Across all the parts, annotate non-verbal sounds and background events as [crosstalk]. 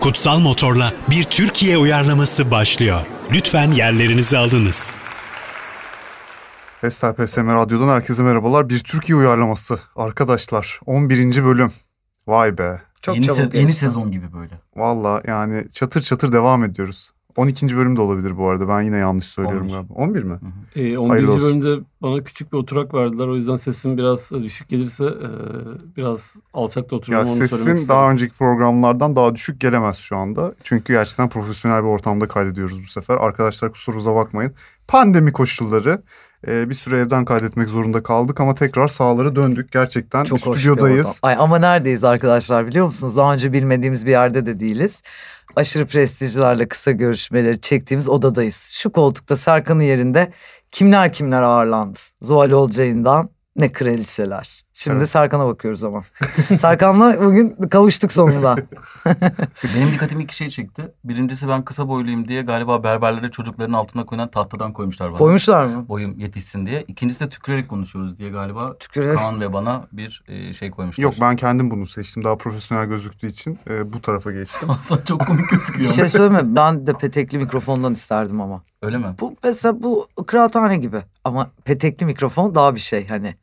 Kutsal Motor'la bir Türkiye uyarlaması başlıyor. Lütfen yerlerinizi alınız. Vestel PSM Radyo'dan herkese merhabalar. Bir Türkiye uyarlaması. Arkadaşlar 11. bölüm. Vay be. Çok yeni, çabuk sez- geçti. yeni sezon gibi böyle. Valla yani çatır çatır devam ediyoruz. 12. bölüm de olabilir bu arada. Ben yine yanlış söylüyorum 11. galiba. 11 mi? Ee, 11. Hayırlı olsun. bölümde bana küçük bir oturak verdiler. O yüzden sesim biraz e, düşük gelirse e, biraz alçakta otururum Ya onu söylemek sesin istedim. daha önceki programlardan daha düşük gelemez şu anda. Çünkü gerçekten profesyonel bir ortamda kaydediyoruz bu sefer. Arkadaşlar kusurumuza bakmayın. Pandemi koşulları. e, bir süre evden kaydetmek zorunda kaldık ama tekrar sahalara döndük. Gerçekten Çok hoş bir stüdyodayız. ortam. Ay ama neredeyiz arkadaşlar biliyor musunuz? Daha önce bilmediğimiz bir yerde de değiliz. Aşırı prestijlerle kısa görüşmeleri çektiğimiz odadayız. Şu koltukta Serkan'ın yerinde kimler kimler ağırlandı. Zuhal Olcay'ından ne kraliçeler. Şimdi Evet. Serkan'a bakıyoruz ama. [laughs] Serkan'la bugün [laughs] kavuştuk sonunda. Benim dikkatimi iki şey çekti. Birincisi ben kısa boyluyum diye galiba berberlere çocukların altına koyulan tahtadan koymuşlar bana. Koymuşlar mı? Boyum yetişsin diye. İkincisi de tükürerek konuşuyoruz diye galiba Tükürür. Kaan ve bana bir e, şey koymuşlar. Yok [laughs] ben kendim bunu seçtim. Daha profesyonel gözüktüğü için e, bu tarafa geçtim. Hasan çok komik Bir gözüküyor. şey söyleme ben de petekli mikrofondan isterdim ama. Öyle mi? Bu mesela bu kıraathane gibi ama petekli mikrofon daha bir şey hani.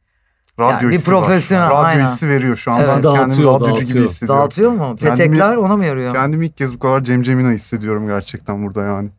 Radyo Yani bir hissi var. profesyonel, Radyo aynen. hissi veriyor şu an. Evet. Ben kendimi Dağıtıyor, radyocu gibi dağıtıyor. hissediyorum. Dağıtıyor mu? Kendimi- Petekler ona mı yarıyor? Kendimi ilk kez bu kadar Cem Cemina hissediyorum gerçekten burada yani.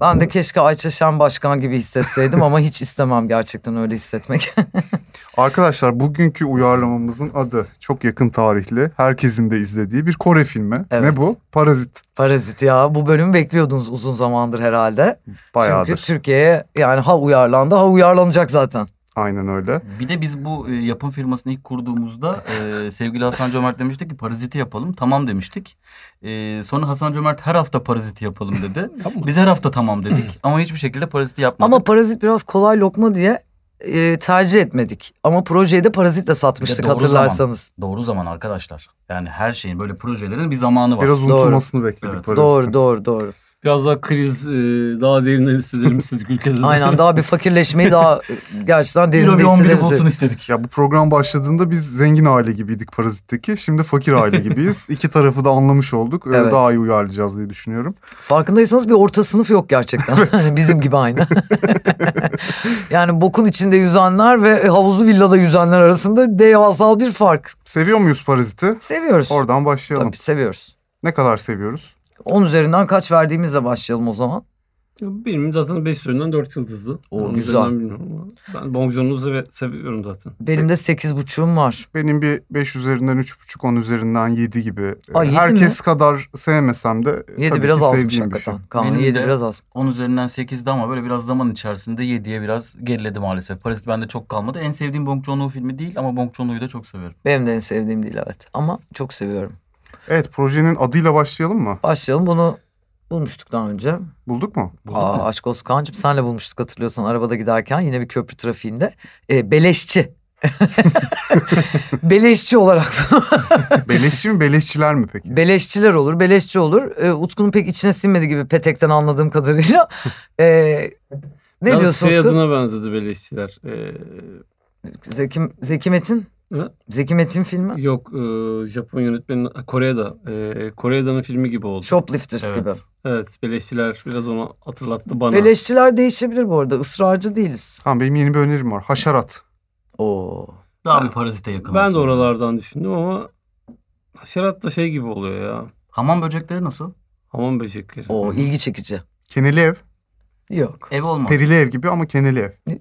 Ben de keşke Ayça Şen Başkan gibi hissetseydim ama hiç istemem gerçekten öyle hissetmek. [laughs] Arkadaşlar bugünkü uyarlamamızın adı çok yakın tarihli. Herkesin de izlediği bir Kore filmi. Evet. Ne bu? Parazit. Parazit ya bu bölümü bekliyordunuz uzun zamandır herhalde. Bayağıdır. Çünkü Türkiye'ye yani ha uyarlandı ha uyarlanacak zaten. Aynen öyle. Bir de biz bu e, yapım firmasını ilk kurduğumuzda e, sevgili Hasan Cömert demişti ki paraziti yapalım. Tamam demiştik. E, sonra Hasan Cömert her hafta paraziti yapalım dedi. biz her hafta tamam dedik ama hiçbir şekilde paraziti yapmadık. Ama Parazit biraz kolay lokma diye e, tercih etmedik. Ama projeyi de Parazit'le satmıştık Bir de doğru hatırlarsanız. Doğru zaman arkadaşlar. Yani her şeyin böyle projelerin bir zamanı var. Biraz Doğru. unutulmasını bekledik Evet. Parazit'in. Doğru doğru doğru. Biraz daha kriz e, daha derinden hissedelim istedik ülkede. [laughs] Aynen daha bir fakirleşmeyi daha e, gerçekten bir derinde on biri hissederiz. bulsun istedik. Ya bu program başladığında biz zengin aile gibiydik Parazit'teki. Şimdi fakir aile [laughs] gibiyiz. İki tarafı da anlamış olduk. Öyle Evet. daha iyi uyarlayacağız diye düşünüyorum. Farkındaysanız bir orta sınıf yok gerçekten. [laughs] Bizim [laughs] gibi aynı. yani bokun içinde yüzenler ve havuzlu villada yüzenler arasında devasal bir fark. Seviyor muyuz Parazit'i? Seviyoruz. Oradan başlayalım. Tabii seviyoruz. Ne kadar seviyoruz? 10 üzerinden kaç verdiğimizle başlayalım o zaman. Benim zaten 5 üzerinden 4 yıldızlı. Oo, Onun güzel. üzerinden bilmiyorum ama Ben Bong Joon'u seve- seviyorum zaten. Benim de 8,5'um var. Benim bir 5 üzerinden 3,5, 10 üzerinden 7 gibi. Ay, Ee, yedi Herkes kadar sevmesem de e, 7 tabii biraz ki azmış sevdiğim bir şey. hakikaten. Kaan Benim 7 de- biraz az. 10 üzerinden 8'di ama böyle biraz zaman içerisinde 7'ye biraz geriledi maalesef. Parazit bende çok kalmadı. En sevdiğim Bong Joon-ho filmi değil ama Bong Joon-ho'yu da çok severim. Benim de en sevdiğim değil evet. Ama çok seviyorum. Evet projenin adıyla başlayalım mı? Başlayalım bunu bulmuştuk daha önce. Bulduk [laughs] mu? Buldun Aa, mu? aşk olsun Kaan'cığım senle bulmuştuk hatırlıyorsan arabada giderken yine bir köprü trafiğinde. Ee, beleşçi. [laughs] beleşçi olarak. Beleşçi mi beleşçiler mi peki? Beleşçiler olur, beleşçi olur. Ee, Utku'nun pek içine sinmedi gibi petekten anladığım kadarıyla. Ee, ne Biraz diyorsun şey Utku? adına benzedi beleşçiler. Ee, Zeki, Zeki Metin? Ne? Zeki Metin filmi? yok e, Japon yönetmenin Kore'da. E, Kore'da'nın filmi gibi oldu. Shoplifters gibi. Evet beleşçiler biraz onu hatırlattı bana. Beleşçiler değişebilir bu arada. Israrcı değiliz. Tamam benim yeni bir önerim var. Haşerat. Oo. Daha bir parazite yakın. ben de olsun. oralardan düşündüm ama haşerat da şey gibi oluyor ya. Hamam böcekleri nasıl? Hamam böcekleri. Oo ilgi çekici. Keneli ev. Yok. [laughs] Ev olmaz. Perili ev gibi ama keneli ev.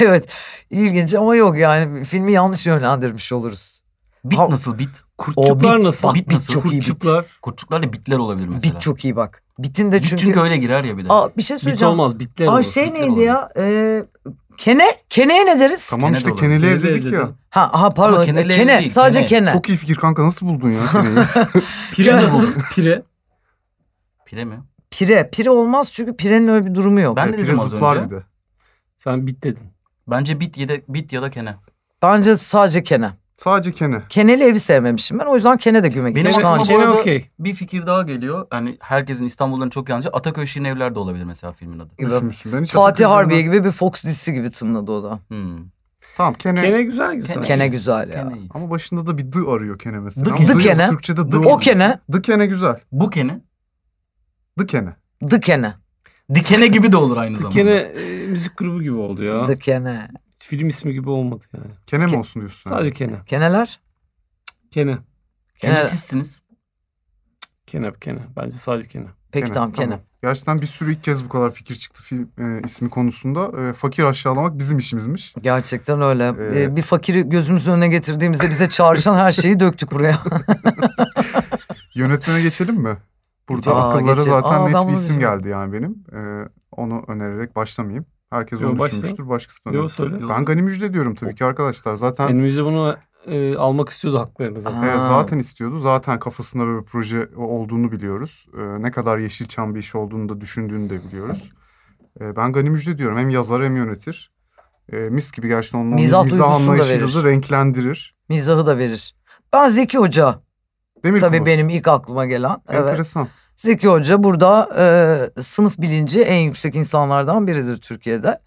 evet. ilginç ama yok yani filmi yanlış yönlendirmiş oluruz. Bit Ha- nasıl bit? Kurtçuklar bit, nasıl? bak, bit nasıl? çok iyi bit. Kurtçuklar. Kurtçuklarla bitler olabilir mesela. Bit çok iyi bak. Bitin de Bit çünkü... çünkü... öyle girer ya bir de. Aa, bir şey Bit söyleyeceğim. olmaz bitler Aa, olur. şey bitler neydi olur. ya? Ee, kene? Keneye ne deriz? Tamam Kene de işte olabilir. keneli ev Keneli ev dedik ya. dedim. Ha, aha, pardon. Ama Kene, kenelerin değil, sadece kene. kene. Çok iyi fikir kanka nasıl buldun [laughs] ya keneyi? Pire Yani- nasıl? [laughs] Pire. Pire mi? Pire, pire olmaz çünkü pirenin öyle bir durumu yok. Ben de Pire dedim az zıplar bir önce. de. Sen bit dedin. Bence bit ya da, bit ya da kene. Bence sadece kene. Sadece kene. Keneli evi sevmemişim ben o yüzden kene de güme Benim gitmiş. aklıma Kaan'cığım. bu Gene arada- okey. Bir fikir daha geliyor. Hani herkesin İstanbul'dan çok yalnızca Ataköy Şirin Evler de olabilir mesela filmin adı. Gibi. Düşünmüşsün. Ben hiç Fatih hatırlamıyorum. Harbiye gibi bir Fox dizisi gibi tınladı o da. Hmm. Tamam kene. Kene güzel güzel. Kene. Kene güzel ya. Keneyi. Ama başında da bir dı arıyor kene mesela. Dı Ama kene. dı yok, Dı kene. Türkçe'de dı O olmuyor. kene, Dı kene güzel. Bu kene. Dı kene. dı kene, Dikene gibi de olur aynı zamanda. Kene e, müzik grubu gibi oldu ya. dı kene. Film ismi gibi olmadı yani. Kene mi Ke- olsun diyorsun? Sadece Kene. Keneler? Kene. Kenesizsiniz. Kene. Kene. Bence sadece Kene. Peki tamam kene. Gerçekten bir sürü ilk kez bu kadar fikir çıktı film e, ismi konusunda. E, fakir aşağılamak bizim işimizmiş. Gerçekten öyle. Ee, Ee, bir fakiri gözümüzün önüne getirdiğimizde bize çağrışan her şeyi döktük buraya. Yönetmene geçelim mi? Burada Aa, akıllara geçelim. zaten Aa, ben net bir bunu isim düşünüyorum. geldi yani benim. E, onu önererek başlamayayım. Herkes Yo, onu başla. düşünmüştür. Başkası da Yo, önermiştir. söyle. Ben Gani Müjde diyorum tabii ki arkadaşlar. Zaten Elimizde bunu e, almak istiyordu haklarını zaten. Aa. Evet, zaten istiyordu. Zaten kafasında böyle bir proje olduğunu biliyoruz. Ee, ne kadar Yeşilçam bir iş olduğunu da düşündüğünü de biliyoruz. Ee, ben Gani Müjde diyorum. Hem yazar hem yönetir. Ee, mis gibi gerçekten onun mizah Mizah duygusunu da anlayışıyla verir. da renklendirir. Mizahı da verir. Ben Zeki Hoca. Demir Tabii Kubus. benim ilk aklıma gelen. Evet. Enteresan. Zeki Hoca burada e, sınıf bilinci en yüksek insanlardan biridir Türkiye'de.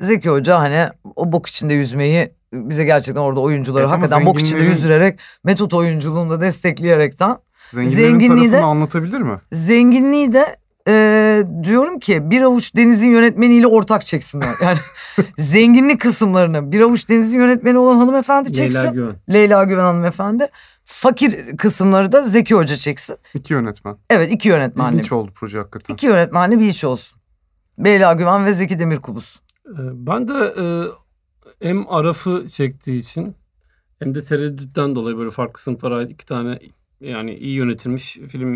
Zeki Hoca hani o bok içinde yüzmeyi bize gerçekten orada oyuncuları Evet ama hakikaten bok içinde zenginlerin- yüzdürerek metot oyunculuğunu da destekleyerekten Zenginlerin Zenginliği tarafını de- anlatabilir mi? zenginliği de e, diyorum ki bir avuç denizin yönetmeniyle ortak çeksinler. Yani [laughs] zenginlik kısımlarını bir avuç denizin yönetmeni olan hanımefendi çeksin. Leyla Leyla, Güven. Güven hanımefendi. Fakir kısımları da Zeki Hoca çeksin. İki yönetmen. Evet iki yönetmenli. İlginç oldu proje hakikaten. İki yönetmenli bir iş olsun. Leyla Güven ve Zeki Demirkubuz. E, ben de e, hem Araf'ı çektiği için hem de tereddütten dolayı böyle farklı sınıflara ait iki tane yani iyi yönetilmiş film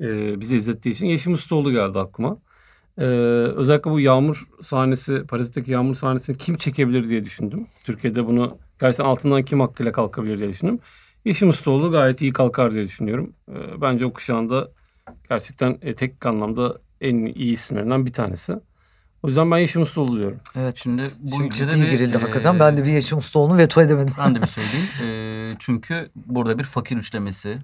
e, bize izlettiği için Yeşim Ustaoğlu geldi aklıma. E, özellikle bu yağmur sahnesi, Paris'teki yağmur sahnesini kim çekebilir diye düşündüm. Türkiye'de bunu gerçekten altından kim hakkıyla kalkabilir diye düşündüm. Yeşim Ustaoğlu gayet iyi kalkar diye düşünüyorum. E, bence o kuşağında gerçekten e, teknik anlamda en iyi isimlerinden bir tanesi. O yüzden ben Yeşim Ustaoğlu diyorum. Evet. Şimdi bu Şimdi ülkede ciddi bir, girildi e, hakikaten. Ben de bir Yeşim Ustaoğlu'nu veto edemedim. Ben de bir söyleyeyim. [laughs] E, çünkü burada bir fakir üçlemesi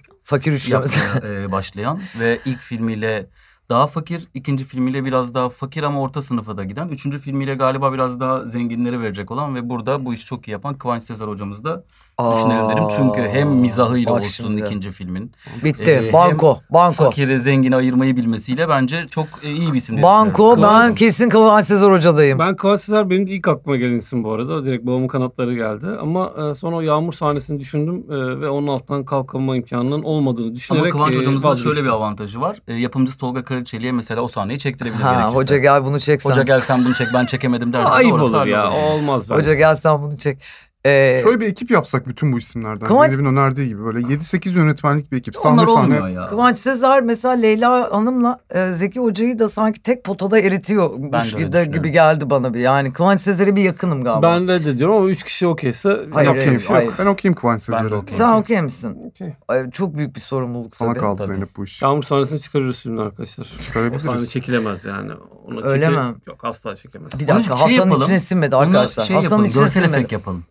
[laughs] Fakir üçlemesi. yapmaya e, başlayan ve ilk filmiyle daha fakir, ikinci filmiyle biraz daha fakir ama orta sınıfa da giden, üçüncü filmiyle galiba biraz daha zenginlere verecek olan ve burada bu işi çok iyi yapan Kıvanç Sezer hocamız da düşünelim derim. Çünkü hem mizahıyla Bak olsun şimdi. ikinci filmin, Bitti. Ee, hem banko. Banko. fakiri zengini ayırmayı bilmesiyle bence çok e, iyi bir isim. diye Banko düşünüyorum. ben kesin Kıvanç Sezer Hoca'dayım. Ben Kıvanç Sezer benim de ilk aklıma gelen isim bu arada. Direkt babamın kanatları geldi. Ama e, sonra o yağmur sahnesini düşündüm e, ve onun altından kalkama imkanının olmadığını düşünerek Ama Kıvanç e, hocamızın da şöyle vazgeçtim. bir avantajı var. E, yapımcısı Tolga Karaçeli'ye mesela o sahneyi çektirebilir Ha, gerekirse. hoca gel bunu çek sen. Hoca gel sen bunu çek ben çekemedim derse de Ayıp orası olur ya. hallolur. o Olmaz bence. Hoca gel sen bunu çek. Ee, Şöyle bir ekip yapsak bütün bu isimlerden. Kıvanç- Zeynep'in önerdiği gibi böyle 7-8 yönetmenlik bir ekip. Sahne Onlar sahne. olmuyor ya. Kıvanç Sezer mesela Leyla Hanım'la e, Zeki Hoca'yı da sanki tek potada Ben de eritiyormuş öyle gibi, de- düşünüyorum. gibi geldi bana bir. Yani Kıvanç Sezer'e bir yakınım galiba. Ben de, de diyorum ama üç kişi okeyse Hayır, yapacak hayır, bir şey yok. hayır. Ben okuyayım Kıvanç Ben de Sezer'i. okuyayım. Sen okey misin? Okey. Ay, Çok büyük bir sorumluluk Sana tabii. kaldı tabii. Zeynep bu iş. Yağmur sahnesini çıkarırız filmden arkadaşlar. O sahne Görebiliriz. çekilemez yani. Ona Öyle çeke- mi? Yok asla çekemez. Bir Onun dakika için şey Hasan'ın yapalım. içine sinmedi Bunu arkadaşlar. şey Hasan'ın yapalım, içine görsel sinmedi. efekt yapalım.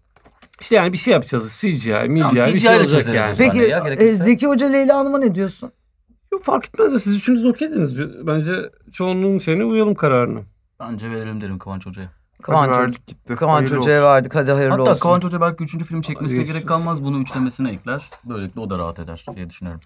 İşte yani bir şey yapacağız. CGI, MGI Tamam, bir CGI şey 'le olacak çözeriz yani. o zaman. Peki Yani ya, gerekirse- e, Zeki Hoca Leyla Hanım'a ne diyorsun? Yok, fark etmez de siz üçünüz okeydiniz. Bence çoğunluğun şeyine uyalım kararını. Bence verelim derim Kıvanç Hoca'ya. Kıvanç, Hadi Hoca- verdik gitti. Kıvanç Hayırlı Hoca'ya olsun. verdik hadi hayırlı Hatta olsun. Kıvanç Hoca belki üçüncü film çekmesine Geçeceğiz. gerek kalmaz. Bunu üçlemesine ekler. Böylelikle o da rahat eder diye düşünüyorum.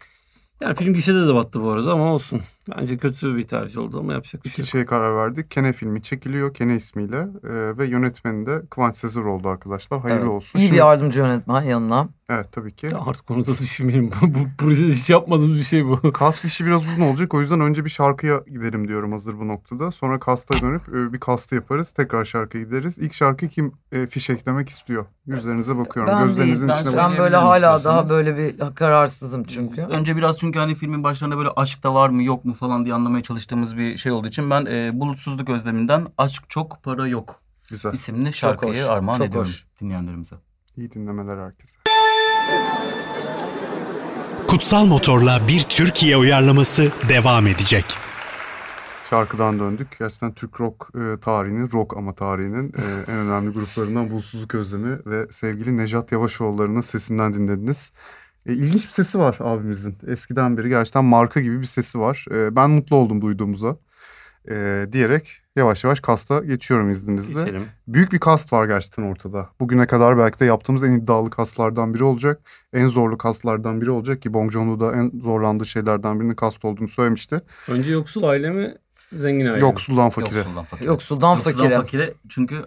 Yani film gişede de battı bu arada ama olsun. Bence kötü bir tercih oldu ama yapacak bir İki şey yok. şeye karar verdik. Kene filmi çekiliyor Kene ismiyle e, ve yönetmeni de Kıvanç Sezer oldu arkadaşlar. Hayırlı Evet, olsun. İyi bir Şimdi- yardımcı yönetmen yanına. Evet tabii ki. Ya artık konuda düşünmeyelim. [laughs] bu bu projede hiç yapmadığımız bir şey bu. Kast işi biraz uzun olacak. O yüzden önce bir şarkıya gidelim diyorum hazır bu noktada. Sonra kasta dönüp e, bir kastı yaparız. Tekrar şarkıya gideriz. İlk şarkı kim e, fişeklemek istiyor? Yüzlerinize bakıyorum. Ben Gözlerinizin değil. içine Ben, içine bakın. ben bakın. böyle hala daha istiyorsanız. böyle bir kararsızım çünkü. Önce biraz çünkü hani filmin başlarında böyle aşk da var mı yok mu falan diye anlamaya çalıştığımız bir şey olduğu için ben e, Bulutsuzluk Özleminden Aşk Çok Para Yok Güzel. isimli şarkıyı hoş, armağan çok ediyorum hoş. dinleyenlerimize. İyi dinlemeler herkese. Kutsal Motor'la bir Türkiye uyarlaması devam edecek. Şarkıdan döndük. Gerçekten Türk rock e, tarihinin, rock ama tarihinin e, en önemli gruplarından Bulsuzluk Özlemi ve sevgili Nejat Yavaşoğulları'nın sesinden dinlediniz. E, ilginç bir sesi var abimizin. Eskiden beri gerçekten marka gibi bir sesi var. E, ben mutlu oldum duyduğumuza e, diyerek yavaş yavaş kasta geçiyorum izninizle. İçelim. Büyük bir kast var gerçekten ortada. Bugüne kadar belki de yaptığımız en iddialı kastlardan biri olacak. En zorlu kastlardan biri olacak ki Bong Joon-ho da en zorlandığı şeylerden birinin kast olduğunu söylemişti. Önce yoksul aile mi? Zengin aile mi? Yoksuldan fakire. Yoksuldan fakire. Yoksuldan fakire. çünkü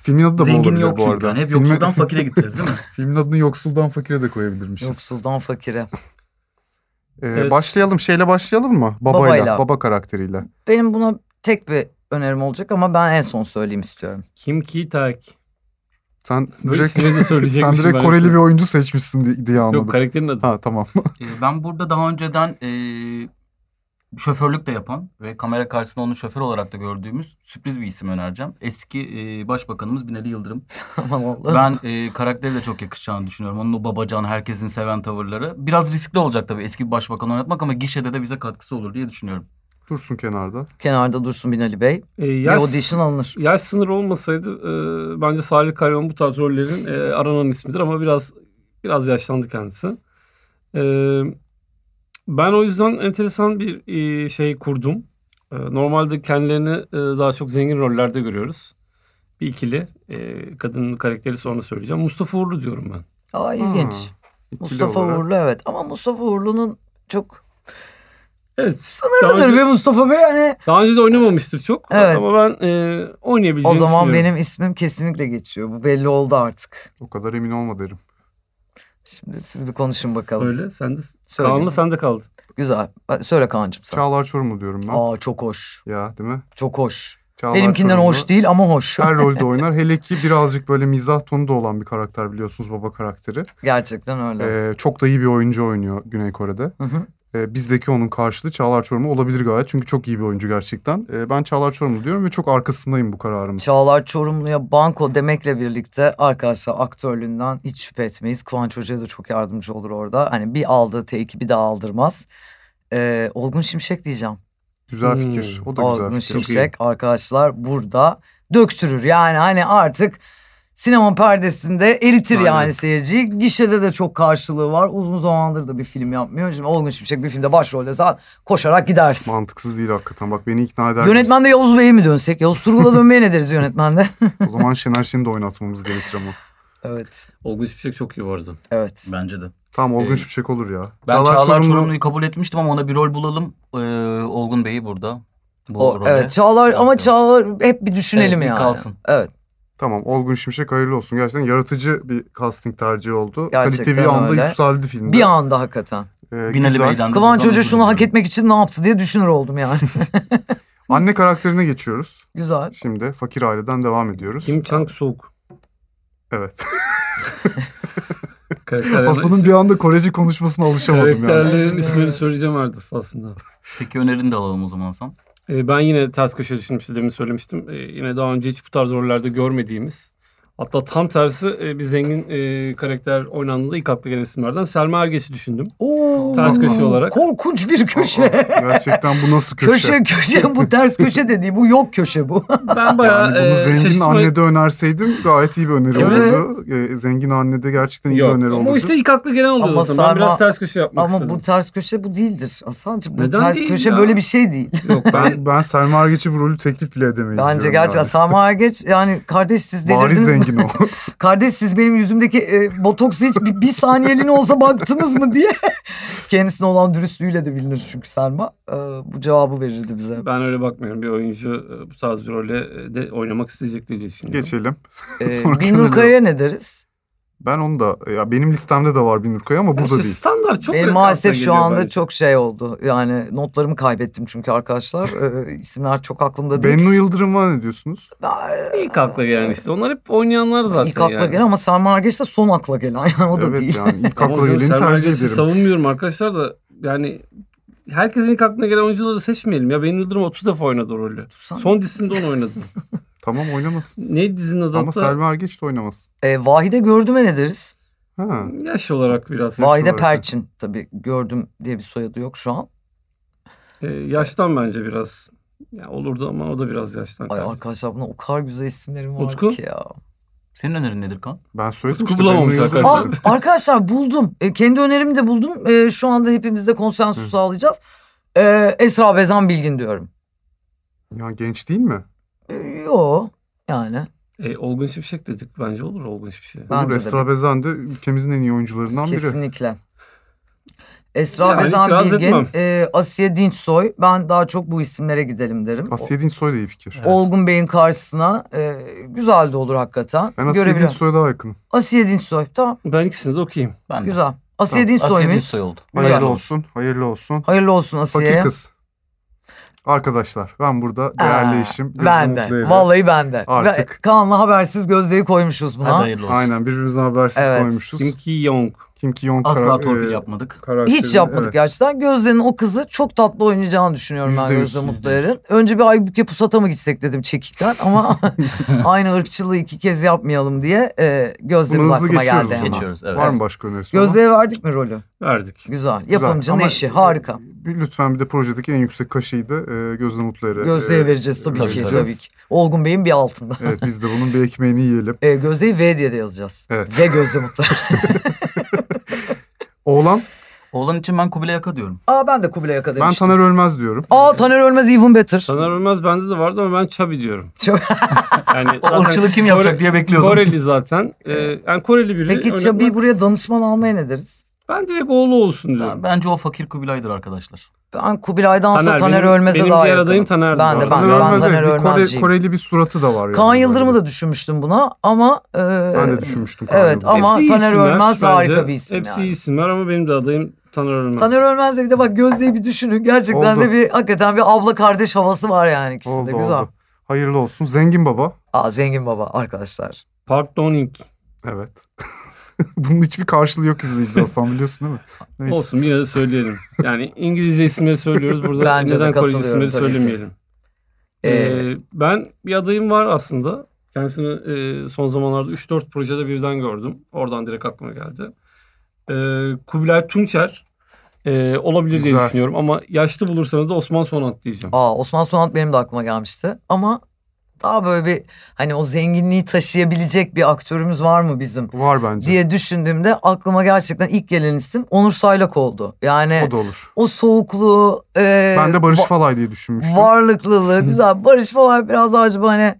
Filmin adı da bu zengin olabilir yok bu çünkü. arada. hani, yani hep Filmin- yoksuldan fakire gideceğiz değil mi? [laughs] Filmin adını yoksuldan fakire de koyabilirmişiz. Yoksuldan fakire. Ee, Evet. Başlayalım şeyle başlayalım mı? Babayla, Babayla. baba karakteriyle. Benim buna tek bir önerim olacak ama ben en son söyleyeyim istiyorum. [laughs] Kim ki tak. Sen Böyle direkt, isimleri de söyleyecekmişim sen direkt ben Koreli size. bir oyuncu seçmişsin di- diye anladım. Yok karakterin adı. ha tamam. [laughs] Ee, ben burada daha önceden ee, şoförlük de yapan ve kamera karşısında onu şoför olarak da gördüğümüz sürpriz bir isim önereceğim. Eski ee, başbakanımız Binali Yıldırım. Aman Allah'ım. Ben e, karakteri de çok yakışacağını düşünüyorum. Onun o babacan, herkesin seven tavırları. Biraz riskli olacak tabii eski bir başbakan oynatmak ama gişede de bize katkısı olur diye düşünüyorum. Dursun kenarda. Kenarda dursun Binali Bey. E, Ee, Bir yaş, audition alınır. yaş sınırı olmasaydı e, bence Salih Kalyon bu tarz rollerin e, aranan ismidir ama biraz biraz yaşlandı kendisi. E, ben o yüzden enteresan bir e, şey kurdum. E, normalde kendilerini e, daha çok zengin rollerde görüyoruz. Bir ikili e, kadının karakteri sonra söyleyeceğim. Mustafa Uğurlu diyorum ben. Aa Ha, ilginç. ikili Hmm. Mustafa olarak. Uğurlu evet ama Mustafa Uğurlu'nun çok Evet. sınırlıdır önce, be Mustafa Bey hani. daha önce de oynamamıştır çok Evet. ama ben e, O oynayabileceğini zaman düşünüyorum. benim ismim kesinlikle geçiyor. Bu belli oldu artık. O kadar emin olma derim. Şimdi siz bir konuşun bakalım. Söyle sen de. Söyle. Kaan'la sen de kaldın. Güzel. Ben- Söyle Kaan'cığım sen. Çağlar Çorumlu diyorum ben. Aa çok hoş. Ya değil mi? Çok hoş. Çağlar Benimkinden Çorumlu. hoş değil ama hoş. Her rolde oynar. Hele ki birazcık böyle mizah tonu da olan bir karakter biliyorsunuz baba karakteri. [laughs] Gerçekten öyle. Ee, çok da iyi bir oyuncu oynuyor Güney Kore'de. Hı hı. Ee, bizdeki onun karşılığı Çağlar Çorumlu olabilir gayet. Çünkü çok iyi bir oyuncu gerçekten. Ee, ben Çağlar Çorumlu diyorum ve çok arkasındayım bu kararımın. Çağlar Çorumlu'ya banko demekle birlikte arkadaşlar aktörlüğünden hiç şüphe etmeyiz. Kıvanç Hoca'ya da çok yardımcı olur orada. Hani bir aldığı teki bir daha aldırmaz. Ee, Olgun Şimşek diyeceğim. Güzel Hmm. fikir. O da güzel Olgun fikir. Şimşek arkadaşlar burada döktürür. Yani hani artık sinema perdesinde eritir Aynen. yani seyirciyi. Gişede de çok karşılığı var. Uzun zamandır da bir film yapmıyor. Şimdi Olgun Şimşek bir filmde başrolde zaten koşarak gidersin. Mantıksız değil hakikaten. Bak beni ikna eder. Yönetmen de Yavuz Bey'e mi dönsek? Yavuz Turgul'a dönmeye ne deriz yönetmende? O zaman Şener Şen'i de oynatmamız gerekir ama. evet. Olgun Şimşek çok iyi vardı. Evet. Bence de. Tamam Olgun Ee, Şimşek olur ya. Ben Çağlar, Çorumlu'yu kabul etmiştim ama ona bir rol bulalım. Ee, Olgun Bey'i burada. Bu O, role. evet Çağlar Biraz ama da- Çağlar hep bir düşünelim Evet, bir yani. kalsın. Evet. Tamam Olgun Şimşek hayırlı olsun. Gerçekten yaratıcı bir casting tercihi oldu. Gerçekten Kalite bir anda öyle. yükseldi filmde. Bir anda hakikaten. Ee, Binali güzel. Bey'den de Kıvanç buradan Hoca özür şunu hak diliyorum. etmek için ne yaptı diye düşünür oldum yani. [laughs] Anne karakterine geçiyoruz. Güzel. Şimdi fakir aileden devam ediyoruz. Kim Chang Sook. Evet. Karakter Aslı'nın bir anda Koreci konuşmasına alışamadım yani. Karakterlerin ismini söyleyeceğim artık aslında. Peki önerini de alalım o zaman Sam. Ee, ben yine ters köşe düşünmüştüm demin söylemiştim. Ee, yine daha önce hiç bu tarz rollerde görmediğimiz hatta tam tersi e, bir zengin e, karakter oynandığında ilk akla gelen isimlerden Selma Ergeç'i düşündüm. Oo, Ters köşe olarak. Korkunç bir Aa, köşe. Gerçekten bu nasıl köşe? [laughs] köşe köşe bu ters köşe dediği bu yok köşe bu. Ben bayağı Yani bunu e, zengin şaşırtma- annede önerseydin gayet iyi bir öneri Evet. olurdu. Ee, zengin annede gerçekten iyi Yok, bir öneri ama olurdu. işte ilk akla gelen oluyor Ama zaten. Ben Selma- biraz ters köşe yapmak Ama bu istedim. ters köşe bu değildir. Aslancığım bu Neden ters değil köşe ya? böyle bir şey değil. Yok ben Ben, ben Selma Ergeç'i bu rolü teklif bile edemeyiz Bence diyorum gerçekten yani. Selma Ergeç yani kardeş siz Bariz delirdiniz mi? zengin o. Kardeş siz benim yüzümdeki e, botoksu hiç bir, bir saniyeliğine olsa baktınız mı diye. [laughs] Kendisine olan dürüstlüğüyle de bilinir çünkü Selma. E, bu cevabı verirdi bize. ben öyle bakmıyorum. Bir oyuncu e, bu tarz bir rolle e, de oynamak isteyecek diye [laughs] düşünüyorum. Geçelim. E, Sonra Binur kenara- Kaya'ya ne deriz? Ben onu da ya benim listemde de var Binur Kaya ama Ya burada işte değil. standart çok benim öyle maalesef akla şu geliyor anda bence. çok şey oldu. Yani notlarımı kaybettim çünkü arkadaşlar. E, isimler çok aklımda değil. Bennu Yıldırım'a ne diyorsunuz? Ben... İlk akla gelen işte. Onlar hep oynayanlar zaten. İlk akla yani. gelen ama Selma Ergeç de son akla gelen. [laughs] Yani o da evet değil. yani [laughs] ilk Ama akla canım, geleni Selma tercih Ergenç'i ederim. savunmuyorum arkadaşlar da yani herkesin ilk aklına gelen oyuncuları seçmeyelim. Ya Benim Yıldırım 30 defa oynadı o rolü. Sen- Son dizisinde onu [laughs] oynadı. Tamam oynamasın. ne dizinin adı Ama hatta? Selma Ergeç de oynamasın. E, Vahide Gördüm'e ne deriz? Ha. Yaş olarak biraz. Vahide olarak. Perçin. Tabii Gördüm diye bir soyadı yok şu an. Ee, yaştan bence biraz. Ya olurdu ama o da biraz yaştan. Ay arkadaşlar buna o kadar güzel isimlerim var Utku? ki ya. Senin önerin nedir Kaan? Ben söyledim Utku işte bulamamış Bennu Yıldırım arkadaşlar. Aa, dedim. Ah, arkadaşlar buldum. E, kendi önerimi de buldum. E, şu anda hepimizde konsensus Hı. sağlayacağız. E, Esra Bezan Bilgin diyorum. Ya genç değil mi? E, Yo yani. E, Olgun Şimşek dedik. Bence olur Olgun Şimşek. Bence Onur de. Esra Bezen de ülkemizin en iyi oyuncularından biri. Kesinlikle. Esra Yani Bezan itiraz Bilgin, etmem. e, Asiye Dinçsoy. Ben daha çok bu isimlere gidelim derim. Asiye Dinçsoy da iyi fikir. O- Olgun Bey'in karşısına e, güzel de olur hakikaten. Ben Asiye Görebilirim. Dinçsoy'a daha yakınım. Asiye Dinçsoy. Tamam Ben ikisini de okuyayım. Ben de. güzel. Asiye Tamam, Dinçsoy Asiye muyuz? Dinçsoy oldu. Hayırlı Güzel. olsun, hayırlı olsun. Hayırlı olsun Asiye. Fakir kız. Arkadaşlar ben burada değerli Aa, eşim. Gözde Ben de. Mutlu Evli. Vallahi ben de. Artık. Ve Kaan'la habersiz gözdeyi koymuşuz Hadi buna. hayırlı olsun. Aynen birbirimizden habersiz Evet. koymuşuz. Kim Kim, Ki Young. Ki Yong Asla kara- torpil e, yapmadık. karakterini- Hiç yapmadık evet. gerçekten. Gözde'nin o kızı çok tatlı oynayacağını düşünüyorum ben Yüzde yüz, Gözde yüzde Mutlu Er'in. Önce bir Aybüke Pusat'a mı gitsek dedim çekikten [laughs] ama [laughs] aynı ırkçılığı iki kez yapmayalım diye e, Gözde'miz Bunu hızlı aklıma geçiyoruz. geldi o hemen. zaman. Geçiyoruz, evet. Var mı başka önerisi? olan? Gözde'ye verdik mi rolü? Verdik. Güzel. Güzel. Yapımcının Ama, eşi. Harika. e, Lütfen bir de projedeki en yüksek kaşıyı da e, Gözde Mutlu Er'e, Gözde'ye e, vereceğiz tabii, ki. vereceğiz. Tabii ki. Olgun Bey'in bir altında. Evet biz de bunun bir ekmeğini yiyelim. E, Gözde'yi V diye de yazacağız. Evet. V Gözde Mutlu. [laughs] [laughs] Oğlan Oğlan için ben Kubilay Aka diyorum. Aa ben de Kubilay Aka ben demiştim. Taner Ölmez diyorum. Aa Taner Ölmez Even Better. Taner Ölmez bende de vardı ama ben Çabi [laughs] diyorum. Çok- Yani O ırkçılığı kim yapacak Kore- diye bekliyordum. Koreli zaten. E, yani Koreli biri. Peki Öyle- Çabi'yi buraya danışman almaya ne deriz? Ben direkt oğlu olsun diyorum. Ben- Bence o fakir Kubilay'dır arkadaşlar. Ben Kubilay'dansa Taner, Taner, benim- Ölmez'e benim daha diğer yakınım. adayım Taner'di Ben bu de arada. ben, Taner de, ben Ölmez'e Taner bir Kore- Ölmez'ciyim. Koreli bir suratı da var. yani Kaan böyle. Yıldırım'ı da düşünmüştüm buna ama... e, Ben de düşünmüştüm. Kaan Evet Yıldırım'ı. ama Hepsi iyi Taner isimler Ölmez bence. harika bir isim Hepsi yani. iyi isimler ama benim de adayım Taner Ölmez. Taner Ölmez de bir de bak Gözde'yi bir düşünün. Gerçekten Oldu. de bir hakikaten bir abla kardeş havası var yani ikisinde. Oldu Güzel. oldu. Hayırlı olsun. Zengin baba. Aa zengin baba arkadaşlar. Park Donning. Evet. [laughs] Bunun hiçbir karşılığı yok izleyici aslında biliyorsun değil mi? Neyse. Olsun yine de söyleyelim. Yani İngilizce isimleri söylüyoruz. Burada Bence de neden Korece katılıyorum isimleri tabii ki. söylemeyelim. Ee, Ee, ben bir adayım var aslında. Kendisini e, son zamanlarda 3-4 projede birden gördüm. Oradan direkt aklıma geldi. Ee, Kubilay Tunçer e, olabilir diye Güzel. düşünüyorum. Ama yaşlı bulursanız da Osman Sonat diyeceğim. Aa Osman Sonat benim de aklıma gelmişti ama daha böyle bir hani o zenginliği taşıyabilecek bir aktörümüz var mı bizim Var bence. diye düşündüğümde aklıma gerçekten ilk gelen isim Onur Saylak oldu. Yani O da olur. o, soğukluğu e, Ben de Barış va- Falay diye düşünmüştüm. varlıklılığı güzel Barış falan biraz daha acaba hani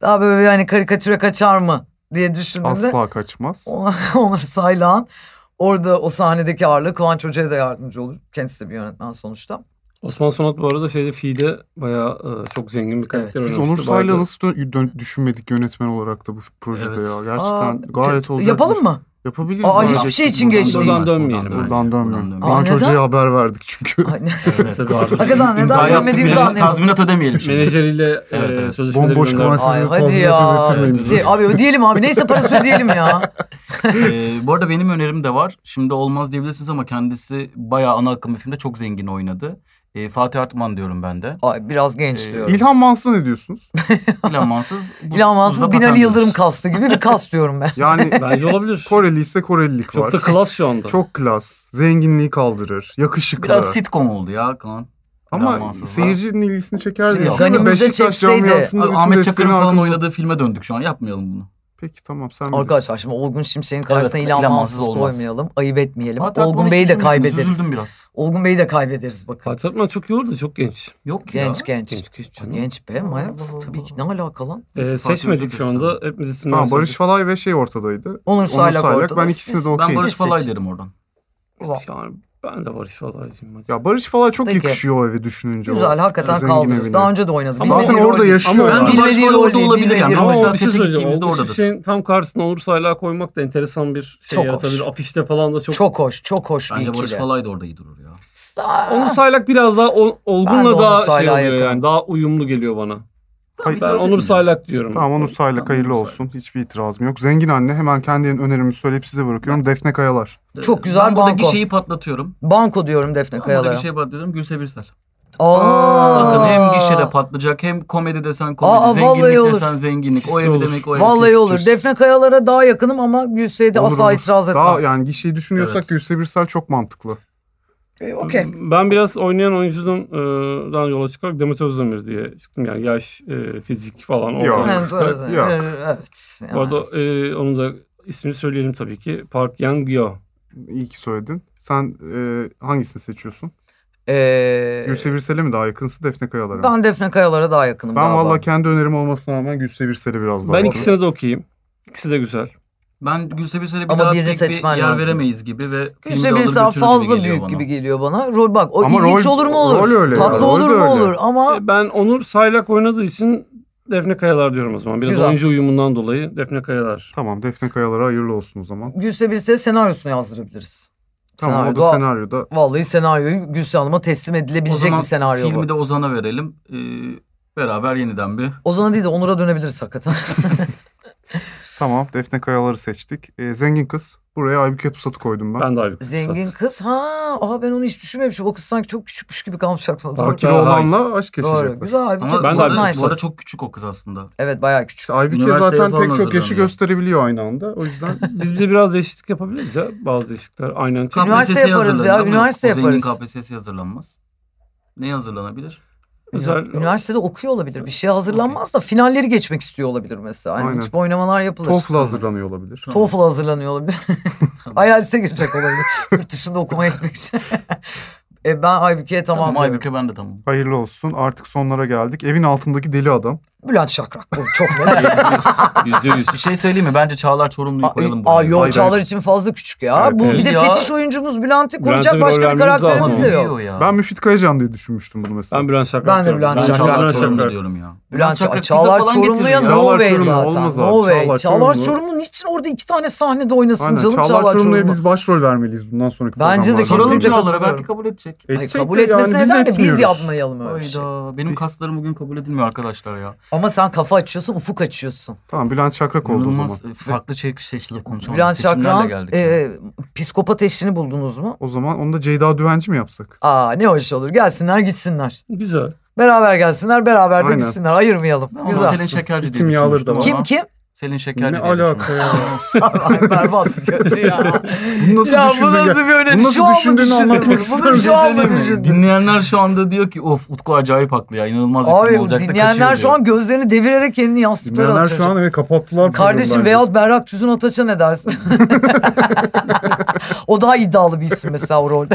daha böyle bir hani karikatüre kaçar mı diye düşündüğümde Asla kaçmaz. [laughs] Onur Saylak'ın orada o sahnedeki ağırlığı Kıvanç Hoca'ya da yardımcı olur. Kendisi de bir yönetmen sonuçta. Osman Sonat bu arada şeyde Fi'de bayağı e, çok zengin bir karakter Biz oynamıştı. Onur Bayağı da- Sayla nasıl dö- dö- düşünmedik yönetmen olarak da bu projede Evet. ya. Aa, Gerçekten te- gayet olacak. Yapalım mı? Yapabiliriz. Aa, bence. hiçbir şey için Buradan geç değil. dönmez, Buradan dönmeyelim. Buradan dönmüyor. Aa, Kaan neden? Hoca'ya haber verdik [laughs] çünkü. Ay, ne- Evet. Tabii artık Hakikaten neden İmza yaptık dönmediğimizi bile, anlayamadım. Tazminat ödemeyelim şimdi. Menajeriyle Evet, e, evet. sözleşmeleri Bomboş gönderdi. kalan Ay sizi hadi tazminat ya. ödetirmeyin. Şey, abi ödeyelim abi. Neyse parası ödeyelim ya. [laughs] Ee, bu arada benim önerim de var. Şimdi olmaz diyebilirsiniz ama kendisi bayağı ana akım bir filmde çok zengin oynadı. Ee, Fatih Artman diyorum ben de. Ay biraz genç Ee, diyorum. İlhan Mans'a ne diyorsunuz? İlhan [laughs] Mansız. bu- İlhan Mansız buzda Binali paten Yıldırım diyoruz. kastı gibi bir kas [laughs] diyorum ben. Yani Bence olabilir. Koreli ise Korelilik var. Çok da klas şu anda. Çok klas. Zenginliği kaldırır. Yakışıklı. Biraz sitcom oldu ya Kaan. İlhan Ama Mansız var. seyircinin ilgisini çeker Şimdi diye. önümüzde düşünüyorum. Beşiktaş çekseydi, camiasında bütün Ahmet desteğini Çakır'ın falan arkamıza- oynadığı filme döndük şu an. Yapmayalım bunu. Peki tamam sen bilirsin. Arkadaşlar şimdi Olgun Şimşek'in karşısına Evet, İlhan, İlhan Mansız Mansız olmaz. koymayalım. Ayıp etmeyelim. Fatih Artman'ı Olgun hiç Bey'i de düşünmediniz, kaybederiz. Üzüldüm biraz. Olgun Bey'i de kaybederiz bakın. Fatih Artman çok iyi oldu. Çok genç. Yok Genç ya. genç. Genç genç Ay, canım. Genç be manyak mısın? Tabii ki ne alaka lan? Ee, Fatih seçmedik Öztürk şu anda. Hepimiz isimler Tamam Barış söyledik. Falay ve şey ortadaydı. Onur Onur Saylak, Saylak, ortada. ben ikisini de okeyim. Ben Barış Siz seçin. Falay derim oradan. Yani ben de Barış Falay'cıyım. hadi. Ya Barış Falay çok Peki. yakışıyor o eve düşününce. Güzel o. hakikaten zengin kaldırır. evine. Daha önce de oynadı. Ama Bilmediği zaten rol orada değil. yaşıyor Ama ya. bence Bilmediği başrol rol orada değil, olabilir bilmediği yani. rol. Ama Mesela bir şey sete söyleyeceğim. gittiğimizde Olgun oradadır. Şimşek'in tam karşısına Onur Sayla koymak da enteresan bir şey Çok yaratabilir. hoş. Afişte falan da çok. Çok hoş, çok hoş bir Bence ikili. Barış Falay da orada iyi durur ya. Sa- Onur Saylak biraz daha o- Ben de Onur Olgun'la daha şey Saylak'a oluyor yakınım. yani. Daha uyumlu geliyor bana. Hayır, Ben Onur Saylak diyorum. Tamam Onur Sayla Tamam, hayırlı Onur olsun. Hiçbir itirazım yok. Zengin anne hemen kendi önerimi söyleyip size bırakıyorum. Defne Kayalar. Çok güzel ben buradaki banko. şeyi patlatıyorum. Banko diyorum Ben Defne buradaki Kayalar'a. şeyi patlatıyorum. Gülse Birsel. Aa. şey- Bakın hem gişede patlayacak hem komedi desen komedi. Aa, vallahi zenginlik olur. desen zenginlik. o ev İşte olur. demek o ev. Vallahi olur. Kesin. Defne Kayalar'a daha yakınım ama Gülse'ye de Olur, asla olur. itiraz etmem. Daha yani gişeyi düşünüyorsak Evet. Gülse Birsel çok mantıklı. E, Okey. Ben biraz oynayan oyuncudan e, yola çıkarak Demet Özdemir diye çıktım. Yani yaş, e, fizik falan. Yok. oradan Yani, çıkarak. doğru- Yok. Evet. yani. Bu arada e, onun da ismini söyleyelim tabii ki. Park Yang Yeo. İyi ki söyledin. Sen e, hangisini seçiyorsun? Ee, Gülse Birsel'e mi daha yakınsın Defne Kayalar'a mı? Ben, ben Defne Kayalar'a daha yakınım galiba. vallahi kendi önerim olmasına rağmen Gülse Birsel'e biraz daha Ben yakınım. ikisini de okuyayım. İkisi de güzel. Ben Gülse Birsel'e bir Ama daha birini pek bir seçmen yer lazım. veremeyiz gibi ve filmde Gülse Birsel alır fazla büyük bana. gibi geliyor bana. Rol bak o Ama ilginç rol- olur mu olur. rol öyle Tatlı yani, rol olur de mu öyle. olur ama E, Ben Onur Saylak oynadığı için Defne Kayalar diyorum o zaman. Biraz Güzel. oyuncu uyumundan dolayı Defne Kayalar. Tamam Defne Kayalar'a hayırlı olsun o zaman. Gülse Birsel'e senaryosunu yazdırabiliriz. Tamam o Senaryo- da senaryoda Vallahi senaryoyu Gülse Hanım'a teslim O edilebilecek zaman bir senaryo filmi bu. de Ozan'a verelim. Ee, beraber yeniden bir Ozan'a değil de Onur'a [laughs] dönebiliriz hakikaten. tamam Defne Kayalar'ı seçtik. Ee, zengin kız. Buraya Aybüke Pusat'ı koydum ben. Ben de abi. Zengin kız. Ha, aha ben onu hiç düşünmemişim. O kız sanki çok küçükmüş gibi kalmış aklımda. Doğru. Bak Fakir ya, oğlanla aşk Doğru. yaşayacaklar. Güzel abi. ama Ben ben de bu, abi arada, çok bu arada kız. çok küçük o kız aslında. Evet bayağı küçük. İşte Aybüke Üniversiteye zaten falan pek çok yaşı hazırlanıyor. gösterebiliyor aynı anda. O [laughs] yüzden [laughs] Biz bize biraz değişiklik yapabiliriz ya. Bazı değişiklikler. Aynen. Üniversite Kamp- KPSS'ye yaparız ya, hazırlanır ama yok. üniversite O zengin yaparız. KPSS'ye hazırlanmaz. Neye hazırlanabilir? Güzel. Üniversitede okuyor olabilir. Bir şeye hazırlanmaz da finalleri geçmek istiyor olabilir mesela. Hani bu Aynen. tip oynamalar yapılır. TOEFL'a hazırlanıyor olabilir. TOEFL hazırlanıyor olabilir. [laughs] IELTS'e girecek olabilir. [laughs] Yurt dışında okumaya gitmek için. [laughs] e ben Aybüke'ye tamam, Tamam diyorum. Aybüke ben de tamam. Hayırlı olsun. Artık sonlara geldik. Evin altındaki deli adam. Bülent Şakrak. Bu çok [laughs] net. Yüzde yüz. Bir şey söyleyeyim mi? Bence Çağlar Çorumlu'yu koyalım buraya. Aa, yok Ay, Çağlar için fazla küçük ya. Evet, bu evet. bir de Ya. fetiş oyuncumuz Bülent'i koyacak Bülent'e bir rol başka bir vermemiz karakterimiz lazım. de Ama yok. biliyor ya. Ben Müfit Kayıcan diye düşünmüştüm bunu mesela. Ben Bülent Şakrak Ben de diyorum. Bülent Ben Şakrak. Çağlar Bülent Çorumlu diyorum ya. Bülent Şakrak Çağlar, bize falan Çağlar Çorumlu'ya getiriyor. Çağlar No way Çorumlu zaten. olmaz abi. no way. Çağlar Çağlar, Çorumlu- Çorumlu'nun için orada iki tane sahnede oynasın Aynen. canım Çağlar, Çağlar, Çorumlu'ya Çorumlu. biz başrol vermeliyiz bundan sonraki Bence de programlarda. Soralım Kesinlikle Çağlar'a katılıyorum. belki kabul edecek. Hayır, Edecek kabul de E, yani etmesinler de biz etmiyoruz. yapmayalım öyle bir şey. Hayda. Benim kaslarım bugün kabul edilmiyor arkadaşlar ya. Ama sen kafa açıyorsun, ufuk açıyorsun. Tamam Bülent Şakrak oldu o zaman. İnanılmaz e, farklı şey, şeyle konuşalım. Bülent Seçimlerle Şakrak'ın geldik. e, psikopat eşini buldunuz mu? O zaman onu da Ceyda Düvenci mi yapsak? Aa ne hoş olur. Gelsinler gitsinler. Güzel. Beraber gelsinler, beraber de Aynen. gitsinler. Ayırmayalım. Ben onu Güzel. Selin Şekerci diye Kim yağları da düşünmüştüm var. ama. Kim kim? Selin Şekerci Ne diye [laughs] alaka ya? düşünmüştüm. Ay berbat bir kötü ya. [laughs] Bunu nasıl [laughs] ya bu düşündün ya? nasıl bir Bunu öneri? nasıl Şu an mı düşündüğünü anlatmak düşündün? ister Bunu misin? şu an mı şey Söyleyeyim mi? düşündün? Dinleyenler şu anda diyor ki of Utku acayip haklı ya inanılmaz bir şey film Abi olacaktı dinleyenler kaçıyor şu an gözlerini devirerek kendini yastıklara Dinleyenler atacak. şu an evet kapattılar. [laughs] Kardeşim programı veyahut Berrak Tüzün Ataç'a [laughs] ne dersin? o daha iddialı bir isim mesela o rolde.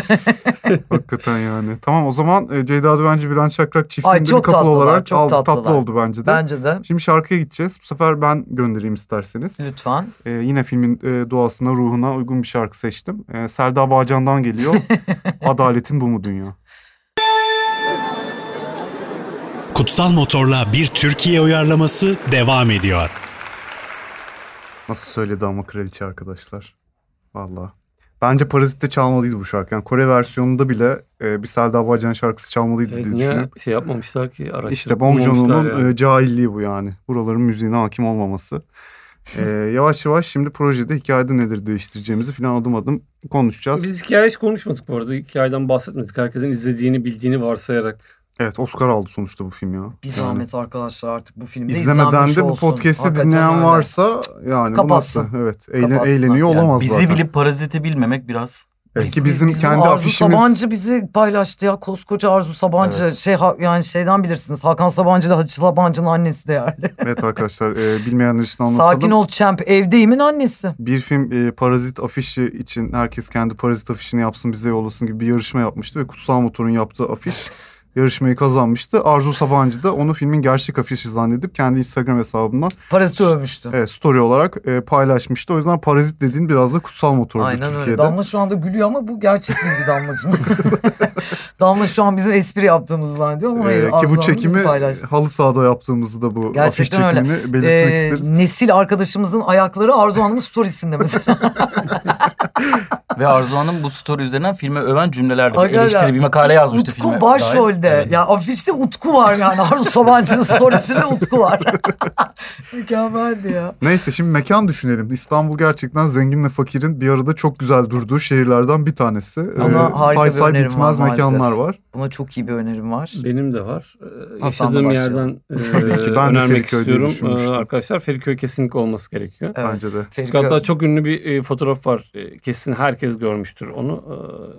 bence. Hakikaten yani. Tamam o zaman e, Ceyda Düvenci Bülent Şakrak Ay, çiftinde bir çok couple tatlılar, olarak çok aldı. Tatlı tatlılar. oldu bence de. Bence de. Şimdi şarkıya gideceğiz. Bu sefer ben göndereyim isterseniz. Lütfen. E, yine filmin e, doğasına, ruhuna uygun bir şarkı seçtim. E, Selda Bağcan'dan [laughs] geliyor. Adaletin bu mu dünya? Kutsal Motor'la bir Türkiye uyarlaması devam ediyor. Nasıl söyledi ama kraliçe arkadaşlar. Valla. Bence Parazit'te çalmalıydı bu şarkı. Yani Kore versiyonunda bile e, bir Selda Bağcan şarkısı çalmalıydı Evet, diye niye düşünüyorum. şey yapmamışlar ki? Araştırıp İşte Bong bulmamışlar Joon'un yani. e, cahilliği bu yani. Buraların müziğine hakim olmaması. E, yavaş yavaş şimdi projede hikayede neleri değiştireceğimizi falan adım adım konuşacağız. Biz hikaye hiç konuşmadık bu arada. Hikayeden bahsetmedik. Herkesin izlediğini, bildiğini varsayarak. Evet Oscar aldı sonuçta bu film ya. Bir Yani zahmet arkadaşlar artık bu filmde İzlemeden izlenmiş de bu olsun. podcast'i Hakikaten dinleyen öyle. varsa yani bu Kapatsın. nasıl? Evet eğlen- Kapatsın. eğleniyor Yani olamaz bizi zaten. bilip paraziti bilmemek biraz Belki bizim, Biz- kendi Arzu afişimiz... Sabancı bizi paylaştı ya koskoca Arzu Sabancı şey ha- yani şeyden bilirsiniz Hakan Sabancı ile Hacı Sabancı'nın annesi değerli. Evet arkadaşlar e, bilmeyenler için anlatalım. Sakin ol Çemp evdeyimin annesi. bir film e, Parazit afişi için herkes kendi Parazit afişini yapsın bize yollasın gibi bir yarışma yapmıştı ve Kutsal Motor'un yaptığı [laughs] afiş yarışmayı kazanmıştı. Arzu Sabancı da onu filmin gerçek afişi zannedip kendi Instagram hesabından Paraziti övmüştü. e, story olarak e, paylaşmıştı. O yüzden Parazit dediğin biraz da Kutsal Motor'du Aynen Türkiye'de. öyle. Damla şu anda gülüyor ama bu gerçek [laughs] bilgi Damlacığım. Damla şu an bizim espri yaptığımızı zannediyor ama hayır. E, ki Arzu bu Hanım bizi çekimi paylaştı. halı sahada yaptığımızı da bu Gerçekten afiş öyle. çekimini belirtmek Ee, isteriz. Nesil arkadaşımızın ayakları Arzu Hanım'ın storiesinde mesela. Ve Arzu Hanım bu story üzerinden filme öven cümleler de Arkadaşlar, eleştiri Hani bir makale yazmıştı filme. Utku başrolde. dair. Evet. Ya afişte Utku var yani. Arzu Sabancı'nın storiesinde [laughs] Utku var. Mükemmeldi ya. Neyse şimdi mekan düşünelim. İstanbul gerçekten zenginle fakirin bir arada çok güzel durduğu şehirlerden bir tanesi. Ee, Ama harika say bir say önerim bitmez var maalesef. mekanlar var. Buna çok iyi bir önerim var. Benim de var. Ee, Hasan'la Yaşadığım başlayalım. yerden e, Tabii ki, ben de önermek Feriköy'de istiyorum. düşünmüştüm. Ee, arkadaşlar Feriköy kesinlikle olması gerekiyor. Evet. Bence de. Feriköy. Hatta çok ünlü bir e, fotoğraf var. E, kesin herkes görmüştür onu.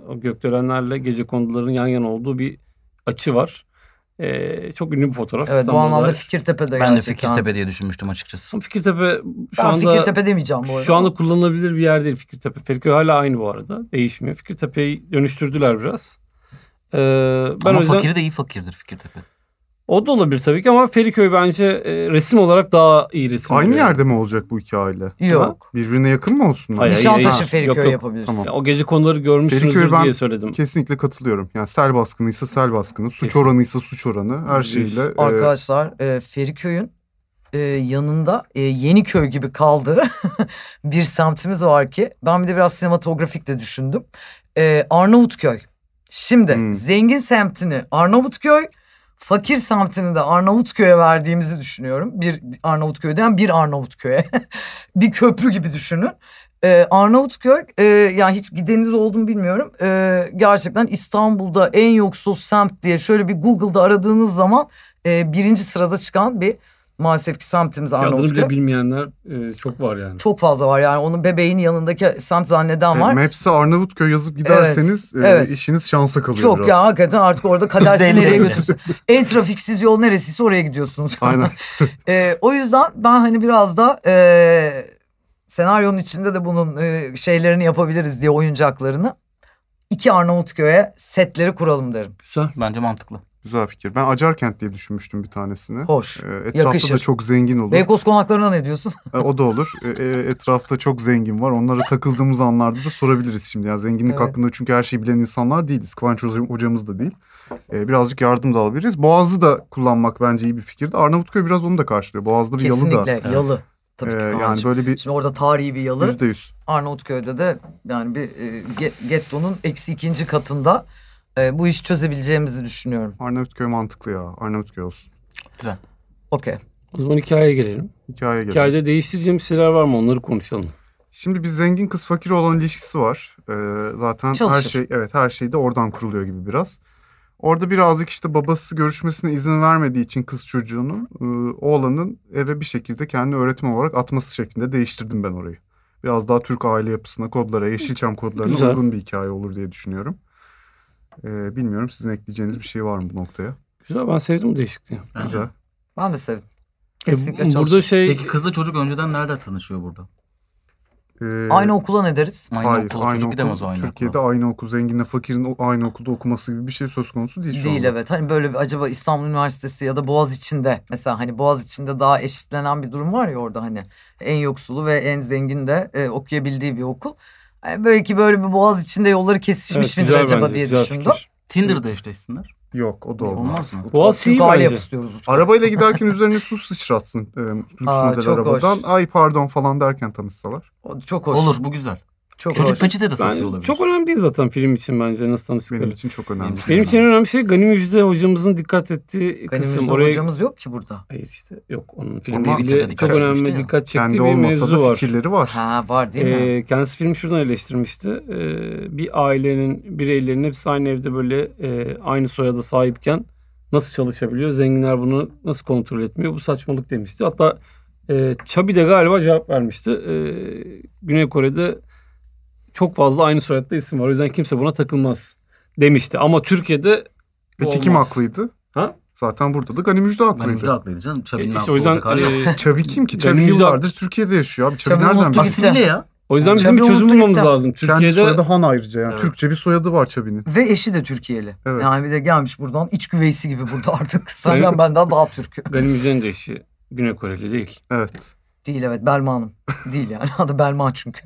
E, o gökdelenlerle gece konduların yan yana olduğu bir açı var. E, çok ünlü bir fotoğraf. Evet bu İstanbul'da anlamda var. Fikirtepe'de Ben de gerçekten. Fikirtepe diye düşünmüştüm açıkçası. Ama Fikirtepe şu Ben anda Fikirtepe demeyeceğim bu arada. şu anda kullanılabilir bir yer değil Fikirtepe. Feriköy hala aynı bu arada. Değişmiyor. Fikirtepe'yi dönüştürdüler biraz. Ee, ben Ama o yüzden... fakiri de iyi fakirdir Fikirtepe. O da olabilir tabii ki ama Feriköy bence e, resim olarak daha iyi resim. Aynı oluyor. yerde mi olacak bu iki aile? Yok. Birbirine yakın mı olsunlar? Hayır, Nişantaşı hayır, hayır. Yok, yok. Feriköy yapabilirsin. Tamam. Ya, o gece konuları görmüşsünüzdür Feriköy ben- diye söyledim. Kesinlikle katılıyorum. Yani sel baskınıysa sel baskını, suç Kesin. oranıysa suç oranı her Yüz. şeyle. e, Arkadaşlar e, Feriköy'ün e, yanında e, Yeniköy gibi kaldığı [laughs] bir semtimiz var ki ben bir de biraz sinematografik de düşündüm. E, Arnavutköy. Şimdi Hmm. zengin semtini Arnavutköy, fakir semtini de Arnavutköy'e verdiğimizi düşünüyorum. Bir Arnavutköy'den bir Arnavutköy'e. [laughs] bir köprü gibi düşünün. E, Arnavutköy e, yani hiç gideniniz oldu mu bilmiyorum. E, gerçekten İstanbul'da en yoksuz semt diye şöyle bir Google'da aradığınız zaman e, birinci sırada çıkan bir maalesef ki semtimiz Adını Arnavutköy. bile bilmeyenler e, çok var yani. Çok fazla var yani onun bebeğin yanındaki semt zanneden e, var. Maps'e Arnavutköy yazıp giderseniz Evet, e, evet. işiniz şansa kalıyor Çok biraz. ya hakikaten artık [laughs] orada kader sizi Belli nereye belli. götürsün. en trafiksiz yol neresiyse oraya gidiyorsunuz. [laughs] Aynen. E, o yüzden ben hani biraz da e, senaryonun içinde de bunun e, şeylerini yapabiliriz diye oyuncaklarını. iki Arnavutköy'e setleri kuralım derim. Güzel. Bence mantıklı. Güzel fikir. Ben Acarkent diye düşünmüştüm bir tanesini. Hoş. E, Etrafta Yakışır. da çok zengin olur. Beykoz konaklarına ne diyorsun? E, O da olur. E, e, Etrafta çok zengin var. Onlara takıldığımız anlarda da sorabiliriz şimdi. Yani zenginlik Evet. hakkında çünkü her şeyi bilen insanlar değiliz. Kıvanç Hoca- hocamız da değil. E, Birazcık yardım da alabiliriz. Boğaz'ı da kullanmak bence iyi bir fikirdi. Arnavutköy biraz onu da karşılıyor. Boğaz'da bir yalı da. Kesinlikle yalı. Tabii E, ki yani Kaan'cığım. böyle bir Şimdi orada tarihi bir yalı. yüzde yüz. Arnavutköy'de de yani bir e, ge- gettonun eksi ikinci katında e, bu işi çözebileceğimizi düşünüyorum. Arnavutköy mantıklı ya. Arnavutköy olsun. Okey. O zaman hikayeye gelelim. Hikaye gelelim. Hikayede değiştireceğimiz şeyler var mı onları konuşalım. Şimdi bir zengin kız fakir olan ilişkisi var. Ee, zaten her Çalışır. şey evet her şey de oradan kuruluyor gibi biraz. Orada birazcık işte babası görüşmesine izin vermediği için kız çocuğunun e, oğlanın eve bir şekilde kendi öğretmen olarak atması şeklinde değiştirdim ben orayı. Biraz daha Türk aile yapısına, kodlara, Yeşilçam kodlarına Güzel. uygun bir hikaye olur diye düşünüyorum. Ee, bilmiyorum sizin ekleyeceğiniz bir şey var mı bu noktaya? Güzel ben sevdim bu değişikliği. Güzel. Ben de sevdim. E, Kesinlikle burada çalışır. şey Peki kızla çocuk önceden nerede tanışıyor burada? Ee, Aynı okula ne deriz? Aynı hayır, okula çocuk gidemez o aynı Türkiye'de okula. aynı okul zenginle fakirin o- aynı okulda okuması gibi bir şey söz konusu değil şu Değil anda. evet. Hani böyle bir acaba İstanbul Üniversitesi ya da Boğaz içinde mesela hani Boğaz içinde daha eşitlenen bir durum var ya orada hani en yoksulu ve en zengin de e, okuyabildiği bir okul. Yani belki böyle bir Boğaz içinde yolları kesişmiş Evet, midir güzel acaba bence, diye güzel düşündüm. fikir. Tinder'da eşleşsinler. Yok o da olmaz. Olmaz mı? Boğaz iyi Çünkü aile bence. yapısı diyoruz. Arabayla giderken üzerine su sıçratsın e, lüks Aa, model çok arabadan. hoş. Ay pardon falan derken tanışsalar. O Çok hoş. Olur bu güzel. Çok çocuk hoş. peçete de Ben- satıyor olabilir. çok önemli değil zaten film için bence nasıl tanıştıkları. Benim Benim, için çok önemli. Benim için en önemli şey Gani Müjde hocamızın dikkat ettiği Benim kısım. Oraya... hocamız yok ki burada. Hayır işte yok onun filmle Ama- ilgili Dikkat çok önemli çekmişti ya. dikkat çektiği Kendi bir olmasa mevzu da var. fikirleri var. Ha var değil mi? Ee, kendisi filmi şuradan eleştirmişti. Ee, bir ailenin bireylerinin hepsi aynı evde böyle e, aynı soyada sahipken nasıl çalışabiliyor? Zenginler bunu nasıl kontrol etmiyor? Bu saçmalık demişti. Hatta e, Chubby de galiba cevap vermişti. Ee, Güney Kore'de çok fazla aynı soyadda isim var. O yüzden kimse buna takılmaz demişti. Ama Türkiye'de bu Peki kim olmaz. haklıydı? Ha? Zaten burada da Gani Müjde Ben Müjde haklıydı. haklıydı canım. E, Çabinin işte o yüzden e, Çavi kim ki? Gani Çavi Müjde- yıllardır Türkiye'de yaşıyor abi. Çavi Çavi nereden unuttu biliyor? gitti. asimile ya. o yüzden bizim Chubby bir çözüm unuttu bulmamız gitti. lazım. Kendi Türkiye'de soyadı Han ayrıca yani. Evet. Türkçe bir soyadı var Çavi'nin. Ve eşi de Türkiye'li. Evet. Yani bir de gelmiş buradan iç güveysi gibi burada [laughs] artık. Senden Benim- benden daha Türk'ü. Gani Müjde'nin de eşi Güney Koreli değil. Evet. Değil evet Belma Hanım. Değil yani [laughs] adı Belma çünkü.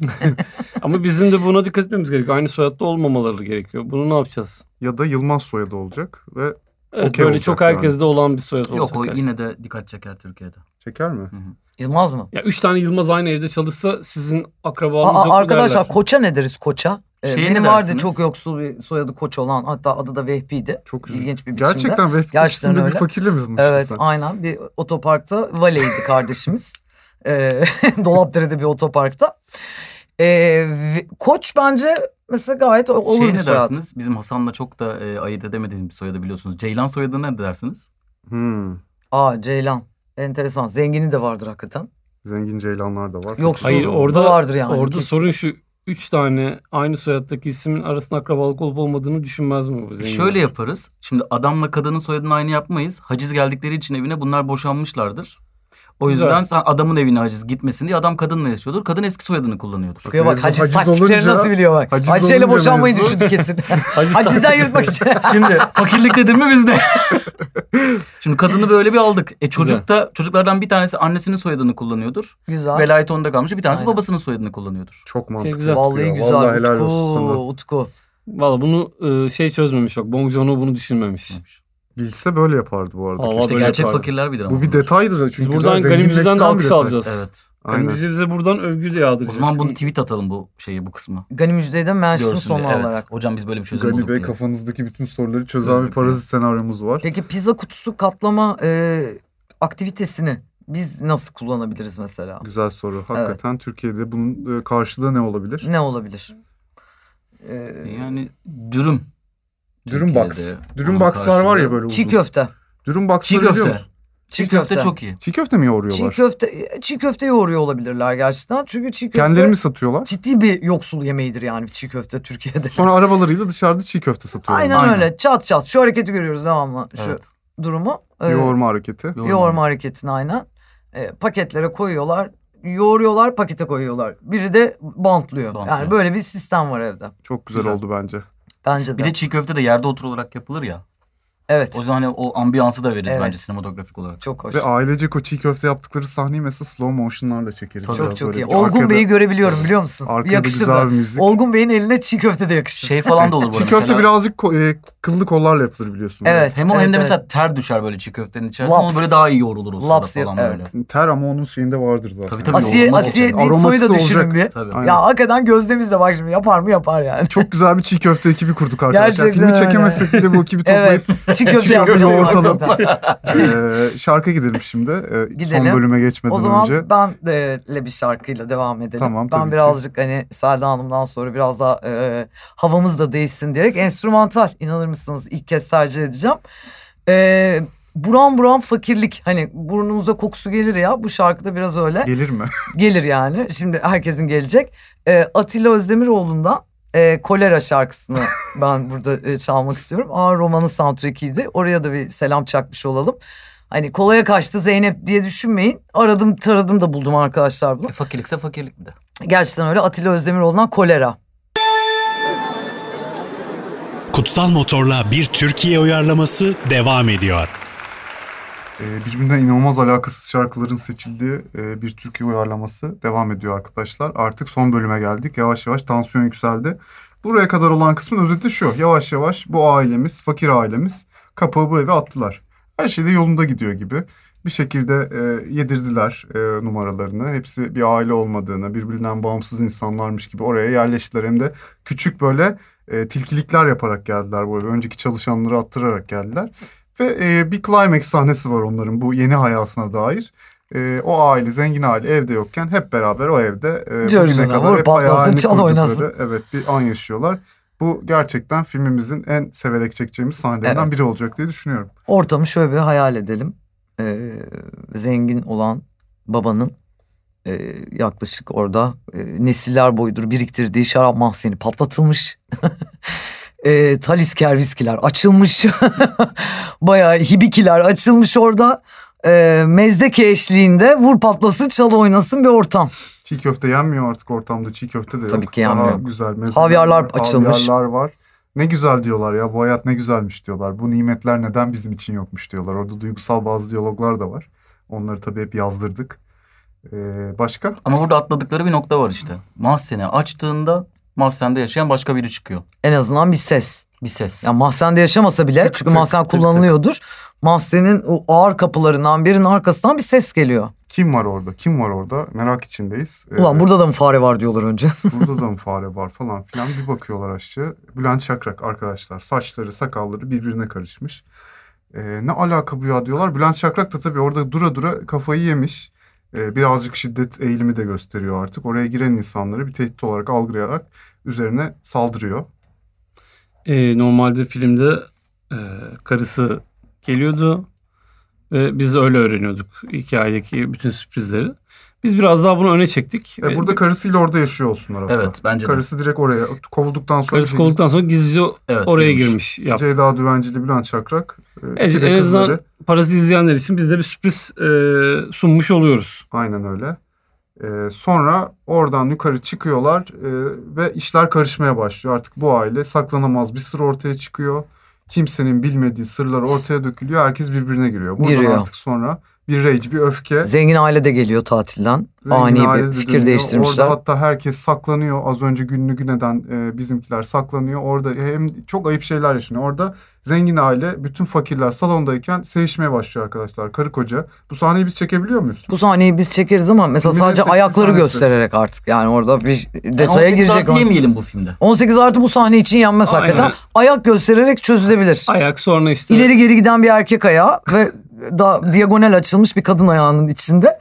Ama bizim de buna dikkat etmemiz gerekiyor. Aynı soyadda olmamaları gerekiyor. Bunu ne yapacağız? Ya da Yılmaz soyadı olacak ve Evet, Okey böyle olacak çok yani. herkeste olan bir soyad olacak. Yok o aslında. yine de dikkat çeker Türkiye'de. çeker mi? Yılmaz mı? Ya üç tane Yılmaz aynı evde çalışsa sizin akrabalığınız yok Aa, mu arkadaşlar derler. koça ne deriz koça? Ee, Şey Şeye ne benim vardı dersiniz? çok yoksul bir soyadı koç olan hatta adı da Vehbi'ydi. Çok üzücü. İlginç bir biçimde. Gerçekten ve Gerçekten ikisinde bir öyle. fakirle mi tanıştın Evet sen? aynen bir otoparkta valeydi kardeşimiz. [laughs] Ee, [laughs] Dolapdere'de bir otoparkta. Ee, ve- koç bence mesela gayet o- olur Şey bir ne soyad. dersiniz? Bizim Hasan'la çok da e, ayırt edemediğimiz bir soyadı biliyorsunuz. Ceylan soyadı ne dersiniz? Hmm. Aa Ceylan. Enteresan. Zengini de vardır hakikaten. Zengin ceylanlar da var. Yoksul Hayır da var. orada da vardır yani. Orada kesin. sorun şu. Üç tane aynı soyaddaki ismin arasında akrabalık olup olmadığını düşünmez mi bu zenginler? Şöyle yaparız. Şimdi adamla kadının soyadını aynı yapmayız. Haciz geldikleri için evine bunlar boşanmışlardır. O Güzel. yüzden sen adamın evine haciz gitmesin diye adam kadınla yaşıyordur. Kadın eski soyadını kullanıyordur. Bakıyor bak Mevzu haciz, haciz taktikleri olunca- nasıl biliyor bak. haciz Ayça ile olunca boşanmayı mevzu- [laughs] düşündü kesin. Haciz Hacizden taklidi. yırtmak için. [laughs] Şimdi fakirlik dedim mi bizde? Şimdi kadını böyle bir aldık. E çocuk da çocuklardan bir tanesi annesinin soyadını kullanıyordur. Güzel. Velayet onda kalmış. Bir tanesi Aynen. babasının soyadını kullanıyordur. Çok mantıklı. güzel. Vallahi ya. güzel. Vallahi helal Utku, olsun sana. Utku. Valla bunu e, şey çözmemiş bak. Bong Joon-ho bunu düşünmemiş. Bilse böyle yapardı bu arada. Allah İşte böyle gerçek yapardı. fakirler bilir ama. Bu bir bunu. detaydır. da Çünkü Biz buradan biraz Ganimci'den de zenginleştiren bir alkış detay. alacağız. Evet. Aynen. Ganimci bize buradan övgü de yağdıracak. O zaman bunu tweet atalım bu şeyi bu kısmı. Gani Müjde'yi de menşin Görsün sonu diye. Evet. olarak. Hocam biz böyle bir çözüm Gani bulduk Bey diye. kafanızdaki bütün soruları çözen Çözdük bir parazit senaryomuz var. Peki pizza kutusu katlama e, aktivitesini biz nasıl kullanabiliriz mesela? Güzel soru. Hakikaten Türkiye'de bunun e, karşılığı ne olabilir? Ne olabilir? E, Yani dürüm. Dürüm box. Türkiye'de Dürüm onun box'lar var ya karşılığı- böyle uzun. çiğ köfte. Dürüm Çiğ box'ları biliyor köfte. musun? Çiğ köfte çok iyi. Çiğ köfte mi Çiğ yoğuruyorlar? köfte, e, çiğ köfte yoğuruyor olabilirler gerçekten. Çünkü çiğ köfte Kendileri mi satıyorlar? ciddi bir yoksul yemeğidir yani çiğ köfte Türkiye'de. Sonra arabalarıyla dışarıda çiğ köfte satıyorlar. [laughs] Aynen, Aynen. öyle. Çat çat. Şu hareketi görüyoruz devamlı. Şu Evet. durumu. Ee, Yoğurma hareketi. Yoğurma. yoğurma hareketini aynen. Ee, paketlere koyuyorlar. Yoğuruyorlar, pakete koyuyorlar. Biri de bantlıyor. Bantlıyor. Yani böyle bir sistem var evde. Çok güzel, Güzel. oldu bence. Bence de. Bir de çiğ köfte de yerde oturularak yapılır ya. evet. O yüzden hani o ambiyansı da veririz Evet. bence sinematografik olarak. Çok hoş. Ve ailecek o çiğ köfte yaptıkları sahneyi mesela slow motion'larla çekeriz. Tabii. Biraz çok çok böyle iyi. bir Olgun arkada- Bey'i görebiliyorum biliyor musun? Arkada Yakışır güzel da. bir müzik. Olgun Bey'in eline çiğ köfte de yakışır. Şey [laughs] falan da olur bu Çiğ arada. köfte Mesela- birazcık ko- e, kıllı kollarla yapılır biliyorsun. Evet. Hem o evet, hem de evet. mesela ter düşer böyle çiğ köftenin içerisinde. Laps. Ama böyle daha iyi yoğrulur o sırada Laps falan yap- böyle. evet. Ter ama onun şeyinde vardır zaten. Hani Tabii, tabii. Asiye, Yoğurma Asiye geçelim. Dinsoy'u da Aroması düşünün olacak. bir. Tabii. Aynen. Ya hakikaten gözlemizde bak şimdi yapar mı yapar yani. [laughs] Çok [laughs] güzel bir çiğ köfte ekibi kurduk arkadaşlar. Gerçekten Filmi öyle. çekemezsek bile bu ekibi toplayıp Evet. Çiğ köfte yaptıralım yoğurtalım. hakikaten. e, şarkı gidelim şimdi. E, Gidelim. Son bölüme geçmeden O zaman önce. ben de le bir şarkıyla devam edelim. Tamam, tabii ben ki. birazcık hani Selda Hanım'dan sonra biraz daha e, havamız da değişsin diyerek enstrümantal inanır mısınız ilk kez tercih edeceğim. E, buram buram fakirlik hani burnunuza kokusu gelir ya bu şarkıda biraz öyle Gelir mi? gelir yani şimdi herkesin gelecek. E, Atilla Özdemiroğlu'ndan e, Kolera şarkısını ben burada e, çalmak istiyorum. Aa romanın soundtrack'iydi oraya da bir selam çakmış olalım. Hani kolaya kaçtı Zeynep diye düşünmeyin. Aradım taradım da buldum arkadaşlar bunu. E, fakirlikse fakirlik bir de. Gerçekten öyle Atilla Özdemiroğlu'ndan kolera. Kutsal Motor'la bir Türkiye uyarlaması devam ediyor. E, birbirinden inanılmaz alakasız şarkıların seçildiği e, bir türkü uyarlaması devam ediyor arkadaşlar. Artık son bölüme geldik. Yavaş yavaş tansiyon yükseldi. Buraya kadar olan kısmın özeti şu. Yavaş yavaş bu ailemiz, fakir ailemiz kapağı bu eve attılar. Her şey de yolunda gidiyor gibi. Bir şekilde e, yedirdiler e, numaralarını. Hepsi bir aile olmadığını, birbirinden bağımsız insanlarmış gibi oraya yerleştiler. Hem de küçük böyle e, tilkilikler yaparak geldiler bu eve. Önceki çalışanları attırarak geldiler. Ve e, bir climax sahnesi var onların bu yeni hayatına dair. E, o aile, zengin aile evde yokken hep beraber o evde e, bugüne Curcuna, vur, kadar hep patlasın, hayalini çal, kurdukları, oynasın. Evet bir an yaşıyorlar. Bu gerçekten filmimizin en severek çekeceğimiz sahnelerinden Evet. biri olacak diye düşünüyorum. Ortamı şöyle bir hayal edelim. Ee, zengin olan babanın e, yaklaşık orada e, nesiller boyudur biriktirdiği şarap mahzeni patlatılmış. [laughs] e, talisker viskiler açılmış. [laughs] Bayağı hibikiler açılmış orada. E, mezdeke eşliğinde vur patlasın çal oynasın bir ortam. Çiğ köfte yenmiyor artık ortamda. Çiğ köfte de yok. Tabii ki Daha yenmiyor. güzel mezeler Havyarlar var, açılmış. Havyarlar var. Ne güzel diyorlar ya bu hayat ne güzelmiş diyorlar. Bu nimetler neden bizim için yokmuş diyorlar. Orada duygusal bazı diyaloglar da var. Onları tabii hep yazdırdık. E, başka? Ama burada atladıkları bir nokta var işte. Mahzeni açtığında mahzende yaşayan başka biri çıkıyor. En azından bir ses. Bir ses. Ya mahzende yaşamasa bile Tık çünkü tık mahzen tık tık. kullanılıyordur. Mahzenin o ağır kapılarından birinin arkasından bir ses geliyor. Kim var orada? Kim var orada? Merak içindeyiz. E, Ulan burada da mı fare var diyorlar önce. Burada da mı fare var falan filan bir bakıyorlar aşçı. Bülent Şakrak arkadaşlar saçları sakalları birbirine karışmış. Ee, ne alaka bu ya diyorlar. Bülent Şakrak da tabii orada dura dura kafayı yemiş. Ee, birazcık şiddet eğilimi de gösteriyor artık. Oraya giren insanları bir tehdit olarak algılayarak üzerine saldırıyor. E, normalde filmde e, karısı geliyordu ve biz öyle öğreniyorduk hikayedeki bütün sürprizleri. Biz biraz daha bunu öne çektik. E, burada karısıyla orada yaşıyor olsunlar hatta. Evet bence de. Karısı direkt oraya kovulduktan sonra şey Karısı kovulduktan sonra gizlice Evet, oraya girmiş. girmiş yaptı. Ceyda Düvencili, Bülent Çakrak. e, Evet, Pide en azından- Kızları. Parası izleyenler için biz de bir sürpriz e, sunmuş oluyoruz. Aynen öyle. E, sonra oradan yukarı çıkıyorlar e, ve işler karışmaya başlıyor. Artık bu aile saklanamaz bir sır ortaya çıkıyor. Kimsenin bilmediği sırlar ortaya dökülüyor. Herkes birbirine giriyor. Buradan Giriyor. artık sonra bir rage, bir öfke. Zengin aile de geliyor tatilden. Zengin Ani aile de bir fikir dönüyor. değiştirmişler. Orada hatta herkes saklanıyor. Az önce Günlü Güne'den e, bizimkiler saklanıyor. Orada hem çok ayıp şeyler yaşanıyor. Orada zengin aile bütün fakirler salondayken sevişmeye başlıyor arkadaşlar. Karı koca. Bu sahneyi biz çekebiliyor muyuz? Bu sahneyi biz çekeriz ama mesela Filmin sadece seksi ayakları sahnesi. göstererek artık yani orada bir Yani detaya 18 girecek. artı olan- yemeyelim bu filmde. 18 artı bu sahne için yanmaz Aynen. hakikaten. Ayak göstererek çözülebilir. Ayak sonra işte İleri geri giden bir erkek ayağı ve da diagonal açılmış bir kadın ayağının içinde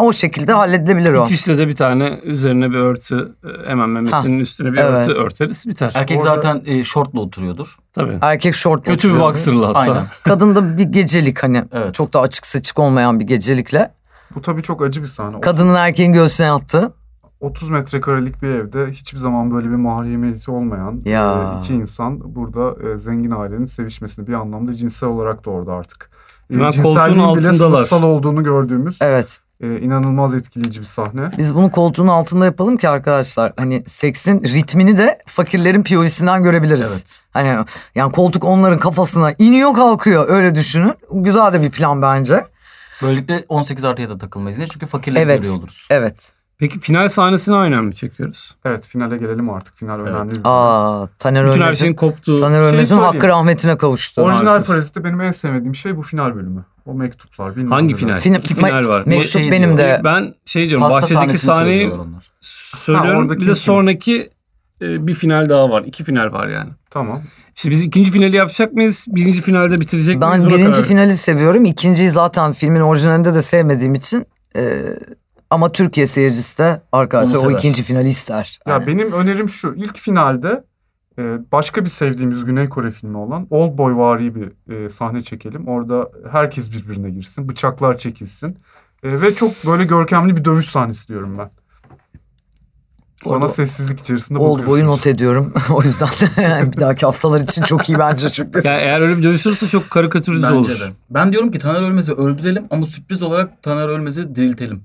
o şekilde halledilebilir o. iç işte de bir tane üzerine bir örtü e, hemen memesinin üstüne bir evet. örtü örteriz biter. Erkek Orada- zaten e, şortla oturuyordur. Tabii. Erkek şort Kötü bir oturuyor. baksırlı hatta. Aynen. Kadın da bir gecelik hani Evet. çok da açık seçik olmayan bir gecelikle. Bu tabii çok acı bir sahne. Kadının erkeğin göğsüne attı. 30 metrekarelik bir evde hiçbir zaman böyle bir mahremiyeti olmayan Ya. e, iki insan burada e, zengin ailenin sevişmesini bir anlamda cinsel olarak da orada artık. E, Hemen koltuğun cinselliğin bile altındalar. sınıfsal olduğunu gördüğümüz Evet. e, inanılmaz etkileyici bir sahne. Biz bunu koltuğun altında yapalım ki arkadaşlar hani seksin ritmini de fakirlerin POV'sinden görebiliriz. Evet. Hani yani koltuk onların kafasına iniyor kalkıyor öyle düşünün. Güzel de bir plan bence. Böylelikle 18 artıya da takılmayız. Niye? Çünkü fakirleri Evet. görüyor oluruz. Evet. Peki final sahnesini aynen mi çekiyoruz? Evet finale gelelim artık. Final Evet. önemli. bir- Aa Taner Bütün her şeyin Ölmez'in koptuğu. şey- Taner Şeyi Ölmez'in söyleyeyim. hakkı rahmetine kavuştu. Orijinal Maalesef. Parazit'te benim en sevmediğim şey bu final bölümü. O mektuplar. Bilmem Hangi neler. final? Fina- İki final me- var. Mektup Şey benim diyor, de. Ben şey diyorum Pasta bahçedeki sahnesini sahneyi söylüyorlar onlar. Ha, söylüyorum. oradaki bir de film. sonraki e, bir final daha var. İki final var yani. Tamam. Şimdi biz ikinci finali yapacak mıyız? Birinci finalde bitirecek miyiz? Ben Buna birinci karar- finali seviyorum. İkinciyi zaten filmin orijinalinde de sevmediğim için e, ama Türkiye seyircisi de arkadaşlar Onu o sever. ikinci finali ister. Ya Yani. benim önerim şu. İlk finalde e, başka bir sevdiğimiz Güney Kore filmi olan Oldboy vari bir e, sahne çekelim. Orada herkes birbirine girsin. Bıçaklar çekilsin. E, ve çok böyle görkemli bir dövüş sahnesi diyorum ben. Bana Old- sessizlik içerisinde Old boyu bakıyorsunuz. not ediyorum. [laughs] o yüzden de yani bir dahaki haftalar için çok iyi bence [laughs] çünkü. Yani eğer öyle bir dövüş olursa çok karikatürize olur. Bence de. Ben diyorum ki Taner Ölmez'i öldürelim ama sürpriz olarak Taner Ölmez'i diriltelim.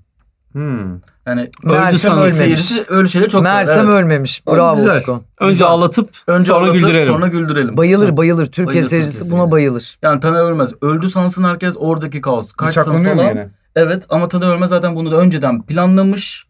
Hmm. Yani Mersem sanırsın. ölmemiş. seyirci öyle şeyleri çok sever. Mersem Evet. ölmemiş. Bravo Güzel. Utku. Önce Güzel. ağlatıp Önce sonra ağlatıp, güldürelim. Sonra güldürelim. Bayılır bayılır. Türkiye Bayılır seyircisi Türkiye buna seyircisi. bayılır. Yani Taner Ölmez öldü sansın herkes oradaki kaos. Kaçsın Bıçaklanıyor mu falan. yine? Evet ama Taner Ölmez zaten bunu da önceden planlamış.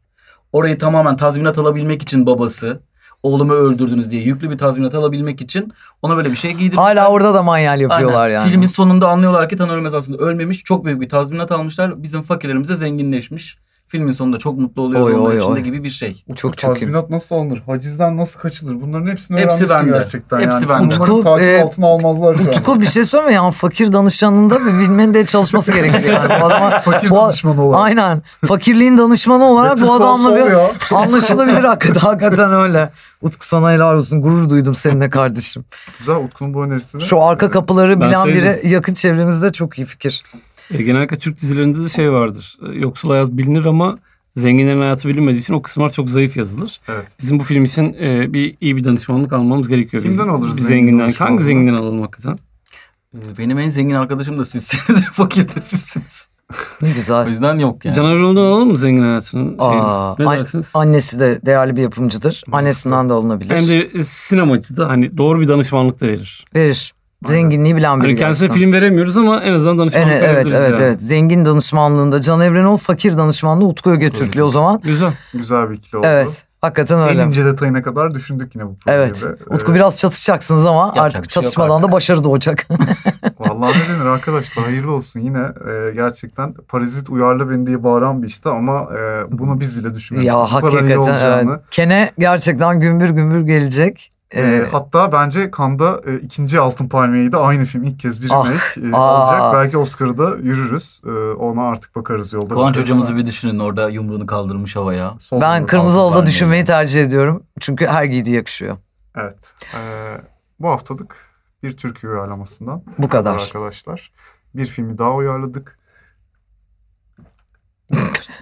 Orayı tamamen tazminat alabilmek için babası. Oğlumu öldürdünüz diye yüklü bir tazminat alabilmek için ona böyle bir şey giydirmişler. Hala orada da manyal yapıyorlar Aynen. yani. Filmin sonunda anlıyorlar ki Taner Ölmez aslında ölmemiş. Çok büyük bir tazminat almışlar. Bizim fakirlerimize zenginleşmiş. Filmin sonunda çok mutlu oluyor Oy, onlar oy, içinde oy. gibi bir şey. Çok çok [laughs] iyi. Tazminat nasıl alınır? Hacizden nasıl kaçılır? Bunların hepsini Hepsi öğrenmişsin bende. gerçekten. Hepsi yani. bende. Bunları Utku, takip e, altına almazlar şu an. Utku bir şey söyleme yani fakir danışanında ve bilmenin de çalışması gerekiyor. Yani bu adama, [laughs] Fakir bu- danışmanı olarak. Aynen. Fakirliğin danışmanı olarak Better bu adamla Call Saul bir ya. [laughs] anlaşılabilir hakikaten, hakikaten öyle. Utku sana helal olsun. Gurur duydum seninle kardeşim. Güzel Utku'nun bu önerisini. Şu arka kapıları Ben bilen sevdim. biri yakın çevremizde çok iyi fikir. E, genellikle Türk dizilerinde de şey vardır. E, Yoksul hayat bilinir ama zenginlerin hayatı bilinmediği için o kısımlar çok zayıf yazılır. Evet. Bizim bu film için e, bir iyi bir danışmanlık almamız gerekiyor. Biz- Kimden alırız Bir zengin zenginden. danışmanlığı? Hangi zenginden alalım hakikaten? Ee, Benim en zengin arkadaşım da sizsiniz. Fakir de sizsiniz. Ne O güzel. yüzden yok yani. Caner Yol'dan alalım mı zengin hayatının şeyini? Aa, Şey, ne ay- dersiniz? Annesi de değerli bir yapımcıdır. Annesinden de alınabilir. Hem de e, sinemacı da hani doğru bir danışmanlık da verir. Verir. Zenginliği bilen biri. Hani kendisine gerçekten. film veremiyoruz ama en azından danışmanlık Evet evet verebiliriz evet, yani. evet. Zengin danışmanlığında Can Evrenol, fakir danışmanlığı Utku Öge Türk'le o zaman. Güzel. Güzel bir ikili oldu. Evet. Hakikaten En öyle. ince detayına kadar düşündük yine bu projede. Evet. Ee, Utku biraz çatışacaksınız ama Yapacak bir şey artık yok çatışmadan artık. da başarı doğacak. Vallahi ne denir arkadaşlar hayırlı olsun yine e, gerçekten parazit uyarlı beni diye bağıran bir işti ama e, bunu biz bile düşünmemiştik. ya Bu kadar iyi hakikaten olacağını. evet. Kene gerçekten gümbür gümbür E, gelecek. Ee, hatta bence Kanda e, ikinci Altın Palmiye'yi de aynı film ilk kez bir Ah, remake e, aa. alacak. Belki Oscar'ı da yürürüz. E, ona artık bakarız yolda. Kıvanç bakarız hocamızı ama bir düşünün orada yumruğunu kaldırmış havaya. sol ben olur. kırmızı altın halıda vermeyelim. düşünmeyi tercih ediyorum. Çünkü her giydiği yakışıyor. Evet. E, bu haftalık bir Türkiye uyarlamasından Bu kadar. arkadaşlar. Bir filmi daha uyarladık.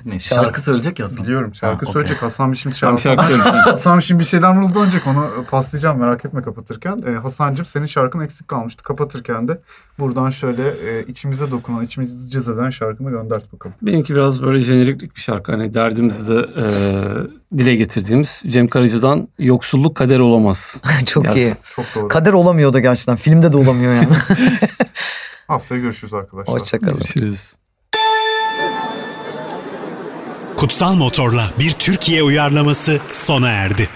Ne, şarkı söyleyecek ya Hasan. Biliyorum şarkı Ha, okey. söyleyecek. Hasan bir şimdi Tam şarkı. şarkı söyleyeceğim. Hasan şimdi bir şeyler mırıldanacak onu paslayacağım merak etme kapatırken. Ee, Hasan'cığım senin şarkın eksik kalmıştı. Kapatırken de buradan şöyle e, içimize dokunan, içimizi cız eden şarkını göndert bakalım. Benimki biraz böyle jeneriklik bir şarkı. Hani derdimizi de e, dile getirdiğimiz Cem Karaca'dan Yoksulluk Kader [laughs] Olamaz. [laughs] Çok Yaz. iyi. Çok doğru. Kader olamıyor da gerçekten. Filmde de olamıyor yani. Haftaya görüşürüz arkadaşlar. Hoşçakalın. Görüşürüz. Kutsal Motor'la bir Türkiye uyarlaması sona erdi.